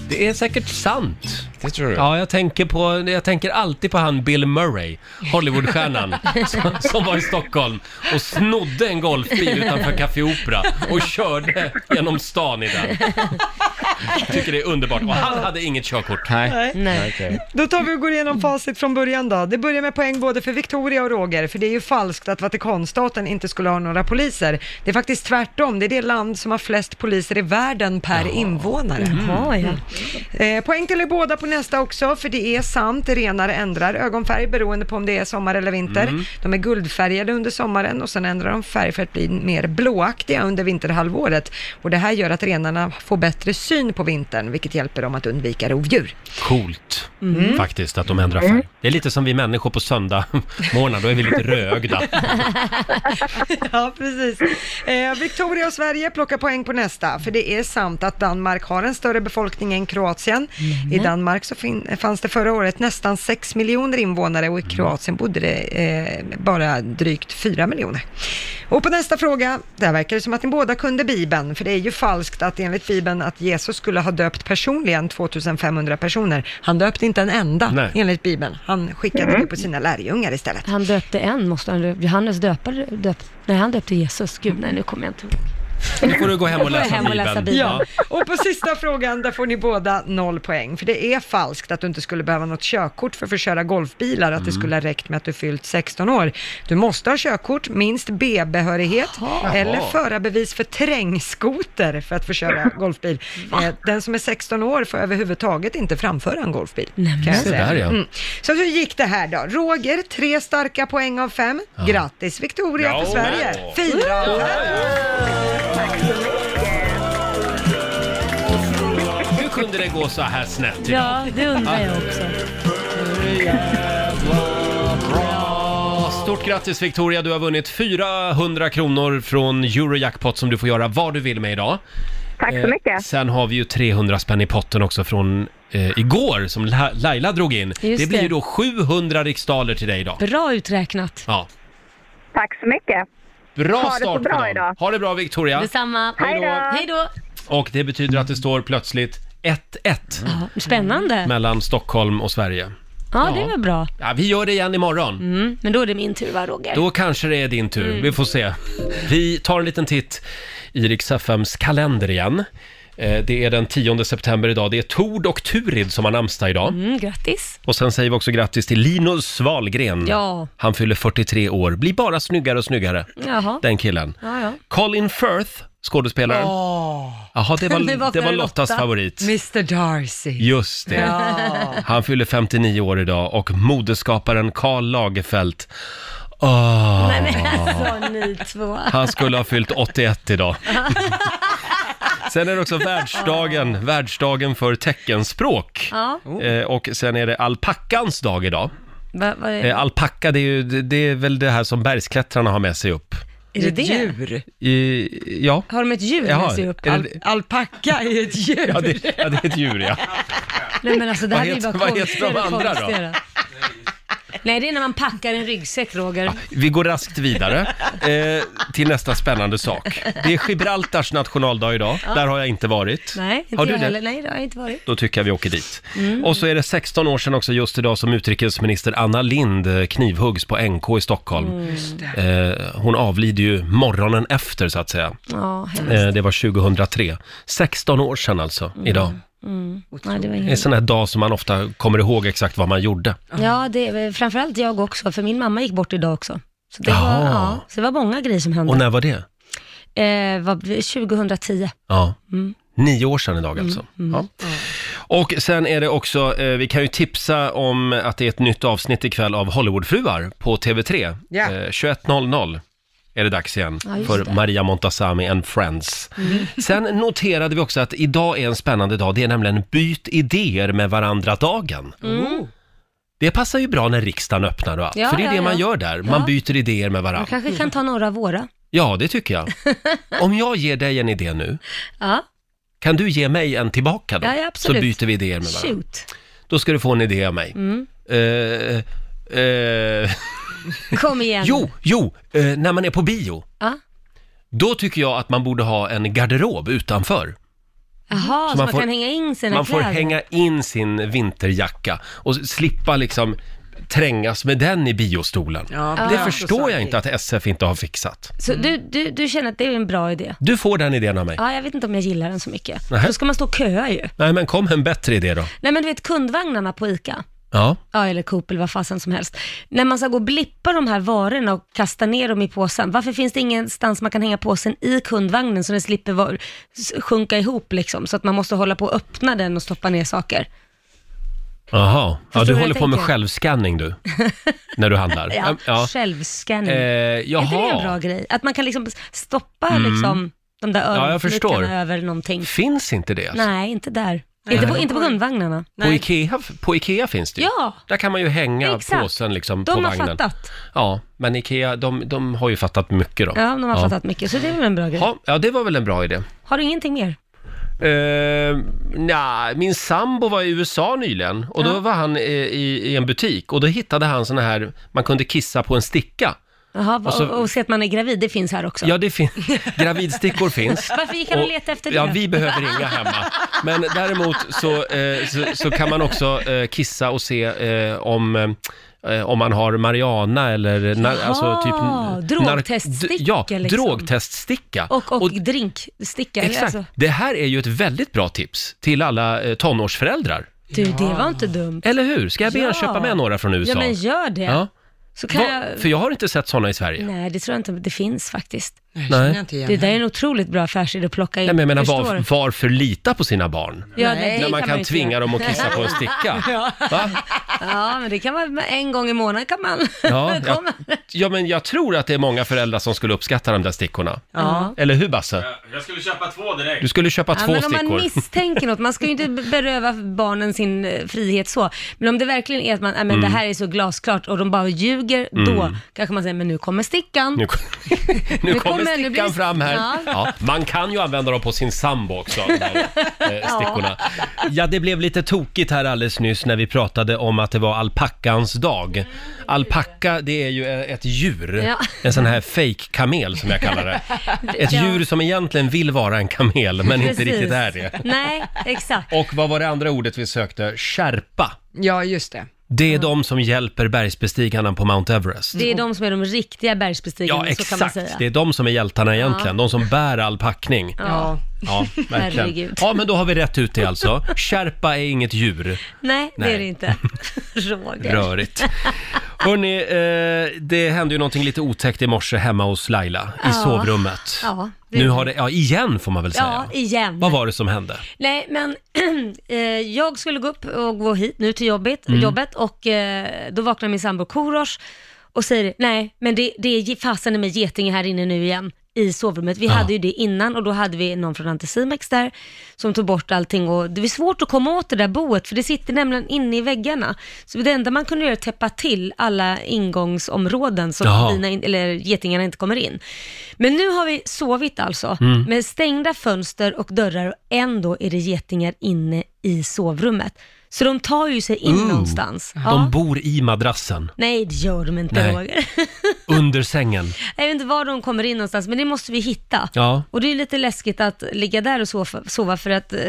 Det är säkert sant.
Det tror du?
Ja, jag tänker, på, jag tänker alltid på han Bill Murray, Hollywoodstjärnan, som, som var i Stockholm och snodde en golfbil utanför Café Opera och körde genom stan i den. Tycker det är underbart. Och han hade inget körkort.
Nej. Nej.
Okej.
Då tar vi och går igenom facit från början då. Det börjar med poäng både för Victoria och Roger, för det är ju falskt att Vatikanstaten inte skulle ha några poliser. Det är faktiskt tvärtom, det är det land som har flest poliser i världen per invånare. Mm.
Jaha, ja.
Eh, poäng till er båda på nästa också, för det är sant, renar ändrar ögonfärg beroende på om det är sommar eller vinter.
Mm.
De är guldfärgade under sommaren och sen ändrar de färg för att bli mer blåaktiga under vinterhalvåret. Och det här gör att renarna får bättre syn på vintern, vilket hjälper dem att undvika rovdjur.
Coolt,
Mm.
faktiskt, att de ändrar
Mm.
färg. Det är lite som vi människor på söndagmorgnar, då är vi lite rögda.
ja, precis. Eh, Victoria och Sverige plockar poäng på nästa, för det är sant att Danmark har en större befolkning än Kroatien.
Mhm.
I Danmark så fin- fanns det förra året nästan 6 miljoner invånare och i Kroatien bodde det eh, bara drygt 4 miljoner. Och på nästa fråga, där verkar det som att ni båda kunde Bibeln, för det är ju falskt att enligt Bibeln att Jesus skulle ha döpt personligen 2500 personer. Han döpte inte en enda
Nej.
enligt Bibeln. Han skickade det på sina lärjungar istället.
Han döpte en, måste han Johannes döpade, döpt, nej han döpte Jesus. Gud, nej nu kommer jag inte ihåg.
Nu får du gå hem
och läsa hem och läsa Bibeln. Bibeln.
Ja. Och på sista frågan, där får ni båda noll poäng. För det är falskt att du inte skulle behöva något körkort för att få köra golfbilar, att det
Mm.
skulle ha räckt med att du fyllt 16 år. Du måste ha körkort, minst B-behörighet eller förarbevis för terrängskoter för att få köra golfbil. Eh, Den som är 16 år får överhuvudtaget inte framföra en golfbil.
Nej,
kan jag
Se
säga.
där, ja.
Mm. Så hur gick det här då? Roger, tre starka poäng av fem.
Ja.
Grattis Victoria
Ja,
för Sverige!
men.
Fyra av fem!
Hur kunde det gå så här snett idag?
Ja, det undrar jag också.
Ja, Stort grattis Victoria, du har vunnit 400 kronor från Eurojackpot som du får göra vad du vill med idag.
Tack så
Eh,
mycket.
Sen har vi ju 300 spänn i potten också från eh, igår som La- Laila drog in.
Just
det blir ju
det.
då 700 riksdaler till dig idag.
Bra uträknat.
Ja.
Tack så mycket.
Bra
Ha det så
start
bra
på dagen.
idag.
Ha det bra Victoria.
Detsamma.
Hej då.
Hej då.
Och det betyder att det står plötsligt 1-1
Ja, Spännande.
mellan Stockholm och Sverige.
Ja, det var bra.
Mm. Ja, vi gör det igen imorgon.
Mm, men då är det min tur va, Roger?
Då kanske det är din tur.
Mm.
Vi får se. Vi tar en liten titt i Rix FMs kalender igen. Eh, Det är den 10 september idag. Det är Tord och Turid som har namnsdag idag.
Mm, grattis.
Och sen säger vi också grattis till Linus Svalgren.
Ja.
Han fyller 43 år. Blir bara snyggare och snyggare,
Jaha.
den killen.
Ja, ja.
Colin Firth, skådespelaren. Jaha, det var, det var, Lottas favorit.
Mr Darcy.
Just det.
Mm. Ja.
Han fyller 59 år idag och modeskaparen Karl Lagerfeld. Åh,
Nej men alltså ni två.
han skulle ha fyllt 81 idag. Sen är det också världsdagen, världsdagen för teckenspråk.
Ja.
Eh, och sen är det alpackans dag idag.
Va, vad är,
Eh, alpacka, det är, ju, det- det är väl det här som bergsklättrarna har med sig upp.
är det det?
Djur?
I, ja.
Har de ett djur med sig upp?
är
Al-
det,
Alpacka är ett djur.
ja, det, ja, det är ett djur ja.
Nej men alltså det
Vad
här är ju
heter-
bara
vad heter de
konstigare och
andra då?
konstigare. Nej det är när man packar en ryggsäck Roger.
Vi går raskt vidare eh, till nästa spännande sak. Det är Gibraltars nationaldag idag.
Ja.
Där har jag inte varit.
Nej, inte
Har du
jag
det?
heller. Nej det har jag inte varit.
Då tycker jag vi åker dit.
Mm.
Och så är det 16 år sedan också just idag som utrikesminister Anna Lind eh, knivhuggs på NK i Stockholm.
Mm.
Eh, hon avlider ju morgonen efter så att säga.
Ja, hemskt.
Eh, det var 2003. 16 år sedan alltså, idag.
Mm. Nej, det var
En
inget.
sån här dag som man ofta kommer ihåg exakt vad man gjorde.
Ja, det är, framförallt jag också, för min mamma gick bort idag också. Så det, var,
Jaha.
ja, så det var många grejer som hände.
Och när var det?
eh, vad blir det? 2010.
Ja.
Mm.
Nio år sedan idag alltså.
Mm.
Ja. Och sen är det också, eh, vi kan ju tipsa om att det är ett nytt avsnitt ikväll av Hollywoodfruar på TV3.
Ja.
Eh, 21.00 är det dags igen
Ja, just
för
det.
Maria Montazami and Friends.
Mm.
Sen noterade vi också att idag är en spännande dag, det är nämligen byt idéer med varandra-dagen.
Mm.
Det passar ju bra när riksdagen öppnar och allt,
Ja,
för det är
ja,
det
ja.
man gör där, man
Ja.
byter idéer med
Man
varandra.
kanske kan ta några av våra.
Ja, det tycker jag. Om jag ger dig en idé nu,
Ja,
kan du ge mig en tillbaka då?
ja, ja absolut.
Så byter vi idéer med varandra.
Shoot.
Då ska du få en idé av mig.
Mm.
Eh, eh,
Kom igen.
jo, jo, eh, när man är på bio,
Ja.
då tycker jag att man borde ha en garderob utanför.
Jaha, så,
man
man,
får-
kan hänga in sina
Man får
kläder.
hänga in sin vinterjacka och s- slippa liksom trängas med den i biostolen.
Ja,
det
ja.
förstår jag inte att SF inte har fixat.
Så du,
Mm.
du, du känner att det är en bra idé?
Du får den idén av mig.
Ja, jag vet inte om jag gillar den så mycket.
Nähä.
Då ska man stå och köa ju.
Nej, men kom en bättre idé då.
Nej men du vet kundvagnarna på ICA.
Ja.
Ja, eller Coop eller vad fasen som helst. När man ska gå och blippa de här varorna och kasta ner dem i påsen, varför finns det ingenstans man kan hänga påsen i kundvagnen så den slipper var- s- sjunka ihop liksom, så att man måste hålla på och öppna den och stoppa ner saker?
Jaha,
Förstår
ja,
du
du
vad
håller
jag
på med
tänker?
självskanning du, när du handlar.
Ja, självscanning.
Eh,
Är inte det
jaha.
en bra grej? Att man kan liksom stoppa
Mm.
liksom, de där
jag förstår.
öronflickarna över någonting.
Finns inte det? Alltså?
Nej, inte där.
Nej.
Inte, på, inte på kundvagnarna.
På, Ikea, på Ikea finns det ju.
Ja.
Där kan man ju hänga
Exakt.
påsen liksom
De
på
har
vagnen.
fattat.
Ja, men Ikea, de, de har ju fattat mycket då.
Ja, de har fattat mycket, så det är väl en bra grej.
Ja, ja, det var väl en bra idé.
Har du ingenting mer?
Uh, nej, min sambo var i USA nyligen och då
Ja.
var han eh, i, i en butik och då hittade han såna här, man kunde kissa på en sticka.
Jaha,
Och
och,
så-
och, se att man är gravid, det finns här också.
Ja, det finns. Gravidstickor finns.
Varför gick han och letade efter det?
Ja, vi behöver inga hemma. Men däremot så, eh, så, så kan man också eh, kissa och se eh, om eh, om man har marijuana eller na,
Jaha,
alltså typ... nar-
drogteststicka
d- Ja,
liksom.
drogteststicka.
Och, och, drinksticka. eller
Exakt.
Alltså,
Det här är ju ett väldigt bra tips till alla eh, tonårsföräldrar.
du, det var inte dumt.
Eller hur? Ska jag be er
Ja.
köpa med några från USA?
Ja, men gör det.
Ja.
Så kan
Va-
jag...
För jag har inte sett sådana i Sverige.
Nej, det tror jag inte det finns faktiskt.
känner jag inte igen
Det där är en otroligt bra affärsidé att plocka in.
Nej, men jag menar,
Förstår
var,
du?
varför lita på sina barn?
Ja, nej, det
När man
kan
kan,
ju inte
tvinga
göra.
dem att kissa på en sticka.
ja.
Va?
ja, men det kan man en gång i månaden kan man.
Ja,
Kom.
jag, ja, men jag tror att det är många föräldrar som skulle uppskatta de där stickorna.
Ja.
Eller hur Basse?
Jag skulle köpa två direkt.
Du skulle köpa
Ja,
två
men om man
stickor.
misstänker något, man ska ju inte beröva barnen sin eh, frihet så. Men om det verkligen är att man, äh, men
Mm.
det här är så glasklart och de bara ljuger, då
Mm.
kanske man säger, men nu kommer stickan.
Nu, nu
Nu
kommer
kommer- nu
stickan
blir det-
fram här. Ja.
Ja.
man kan ju använda dem på sin sambo också, de där eh, stickorna. Ja, det blev lite tokigt här alldeles nyss när vi pratade om att det var alpackans dag. Alpacka, det är ju eh, ett djur.
Ja.
En sån här fake kamel som jag kallar det. Ett
Ja.
djur som egentligen vill vara en kamel, men inte
Precis.
riktigt är det.
Nej, exakt.
Och vad var det andra ordet vi sökte? Skärpa.
Ja, just det.
Det är de som hjälper bergsbestigarna på Mount Everest.
Mm. Det är de som är de riktiga bergsbestigarna,
Ja,
så kan man
exakt.
säga.
Det är de som är hjältarna egentligen. De som bär all packning.
Ja.
Ja, verkligen.
Herregud.
Ja, men då har vi rätt ut det alltså. Sherpa är inget djur.
Nej, det
Nej.
är det inte. Roger.
Rörigt. Hörni, eh, det hände ju någonting lite otäckt i morse hemma hos Laila i
Ja.
sovrummet.
Ja, det-
Nu har det, ja igen får man väl säga.
Ja, igen.
Vad var det som hände?
Nej, men eh, jag skulle gå upp och gå hit nu till jobbet,
Mm.
jobbet och eh, då vaknade min sambo Korosh och säger nej, men det, det är ge- fasen i mig getinge här inne nu igen i sovrummet. Vi
Ja.
hade ju det innan och då hade vi någon från Anticimex där som tog bort allting och det var svårt att komma åt det där boet för det sitter nämligen inne i väggarna. Så det enda man kunde göra är att täppa till alla ingångsområden så
Jaha.
att bina in, eller getingarna inte kommer in. Men nu har vi sovit alltså
Mm.
med stängda fönster och dörrar och ändå är det getingar inne i sovrummet. Så de tar ju sig in
Ooh.
någonstans. Ja.
Mm. De bor i madrassen,
Nej, det gör de inte
Nej.
Roger.
under sängen.
Jag vet inte var de kommer in någonstans, men det måste vi hitta.
Ja.
Och det är ju lite läskigt att ligga där och sova, sova för att eh,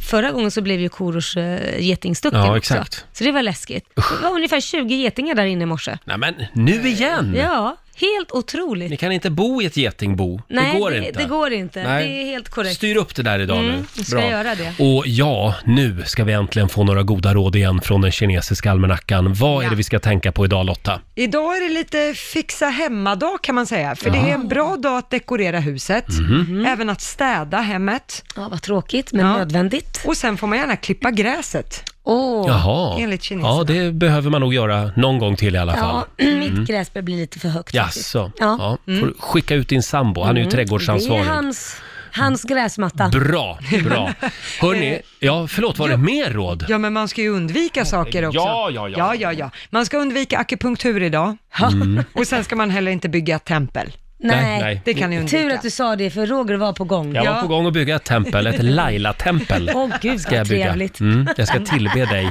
förra gången så blev ju Korosh eh, getingstucken
Ja,
också.
exakt.
Så det var läskigt. Det var ungefär 20 getingar där inne i morse.
Nej men, nu igen!
Ja, helt otroligt.
Ni kan inte bo i ett getingbo. det går
det,
inte.
det går inte.
Nej.
Det är helt korrekt.
Styr upp det där idag
Mm,
nu.
jag ska göra det.
Och ja, nu ska vi äntligen få några goda råd igen från den kinesiska almanackan. Vad är det vi ska tänka på idag Lotta?
Idag är det lite fixa hemmadag kan man säga, för det är en bra dag att dekorera huset,
Mhm.
även att städa hemmet.
Mhm. Ja, vad tråkigt, men
Ja.
nödvändigt.
Och sen får man gärna klippa gräset.
Åh.
Jaha.
enligt kineserna.
ja, det behöver man nog göra någon gång till i alla fall. Mm.
Ja, mitt gräs börjar bli lite för högt faktiskt.
Jaså? Ja.
Ja. Mm.
Får du skicka ut din sambo, han är ju
Det är
trädgårdsansvarig.
hans, hans gräsmatta.
Bra, bra. Hörni, ja förlåt, var det mer råd?
Ja, men man ska ju undvika saker också.
ja, ja, ja.
ja, ja, ja. Man ska undvika akupunktur idag. Och sen ska man heller inte bygga ett tempel.
Nej,
Nej,
Mm. nej.
Det kan ni undvika.
tur att du sa det för Roger var på gång.
Jag var
Ja.
på gång att bygga ett tempel, ett Laila-tempel.
Åh gud
Ska jag
vad
bygga.
trevligt.
Mm, jag ska tillbe dig.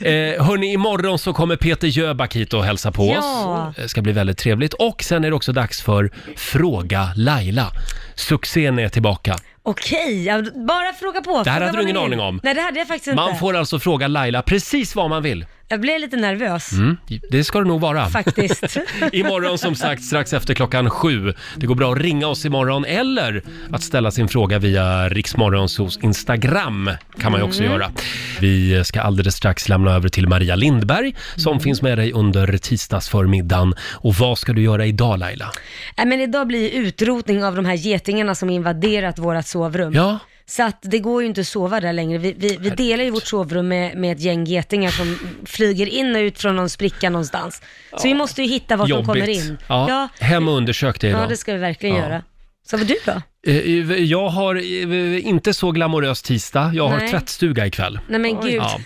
Eh, hörni, imorgon så kommer Peter Jöback hit och hälsa på
Ja.
oss. Det ska bli väldigt trevligt. Och sen är det också dags för Fråga Laila. Succén är tillbaka.
Okej, ja, bara fråga på.
Det här
Fråga
hade du
vad
ingen
ni
aning
vill.
om.
Nej, det hade jag faktiskt
Man
inte.
får alltså fråga Laila precis vad man vill.
Jag blev lite nervös
Mm, det ska det nog vara.
faktiskt.
Imorgon som sagt strax efter klockan sju. Det går bra att ringa oss imorgon eller att ställa sin fråga via Riksmorgonsos Instagram kan man ju
Mm.
också göra. Vi ska alldeles strax lämna över till Maria Lindberg som
Mm.
finns med dig under tisdagsförmiddagen. Och vad ska du göra idag Laila?
Nej, men idag blir ju utrotning av de här getingarna som invaderat vårat sovrum.
Ja,
Så att det går ju inte att sova där längre. Vi, vi, vi delar ju vårt sovrum med, med ett gäng getingar som flyger in och ut från någon spricka någonstans. Så vi måste ju hitta vart de kommer
jobbigt.
in.
Ja, hem och undersök det
ja,
idag.
det ska vi verkligen
Ja.
göra. Så vad du då?
Eh, Jag har eh, inte så glamorös tisdag. Jag har
Nej.
tvättstuga ikväll.
Nej men gud.
Ja,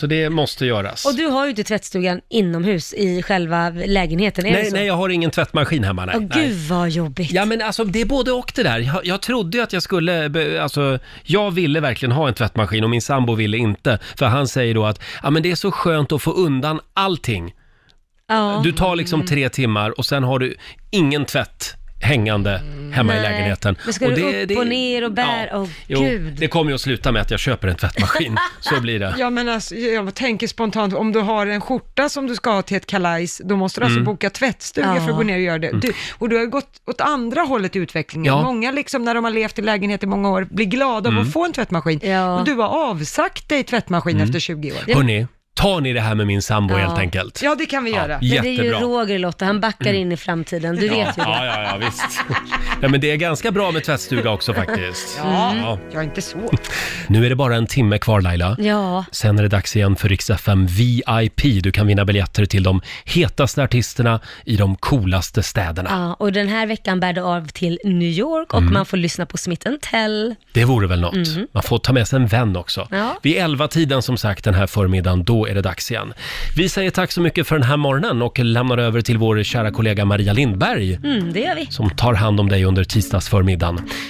så det måste göras.
Och du har ju inte tvättstugan inomhus i själva lägenheten, är det
Nej,
så?
nej, jag har ingen tvättmaskin hemma. Nej.
Åh
nej.
gud vad jobbigt.
Ja men alltså det är både och det där. Jag, jag trodde ju att jag skulle, be- alltså jag ville verkligen ha en tvättmaskin och min sambo ville inte. För han säger då att, ja men det är så skönt att få undan allting.
Ja.
Du tar liksom tre timmar och sen har du ingen tvätt hängande hemma i
Nej.
lägenheten.
Men ska du upp och ner och bär? Åh,
jo,
gud.
det kommer ju att sluta med att jag köper en tvättmaskin. Så blir det.
Ja, men alltså, jag tänker spontant, om du har en skjorta som du ska ha till ett kalajs, då måste du
Mm.
alltså boka tvättstuga
Ja.
för att gå ner och göra det. Du, och du har ju gått åt andra hållet i utvecklingen.
Ja. Mm.
Många, liksom, när de har levt i lägenhet i många år, blir glada av att få en tvättmaskin.
Ja.
Och du har avsagt dig tvättmaskin efter 20 år.
Hörni, tar ni det här med min sambo
Ja.
helt enkelt?
Ja, det kan vi göra.
Men det är ju
jättebra. Mm.
Roger Lotta, han backar in i framtiden, du vet ju det.
Ja, ja, ja, visst. Nej, men det är ganska bra med tvättstuga också faktiskt.
Mm.
Ja.
Jag är inte så.
Nu är det bara en timme kvar Laila.
Ja,
Sen är det dags igen för Rix FM VIP. Du kan vinna biljetter till de hetaste artisterna i de coolaste städerna.
ja, och den här veckan bär det av till New York
Mm.
och man får lyssna på Smith Tell.
Det vore väl något. Man får ta med sig en vän också.
Mm. Ja.
Vid elva tiden som sagt den här förmiddagen, då är det dags igen. Vi säger tack så mycket för den här morgonen och lämnar över till vår kära kollega Maria Lindberg
Mm, det gör vi.
som tar hand om dig under tisdagsförmiddagen.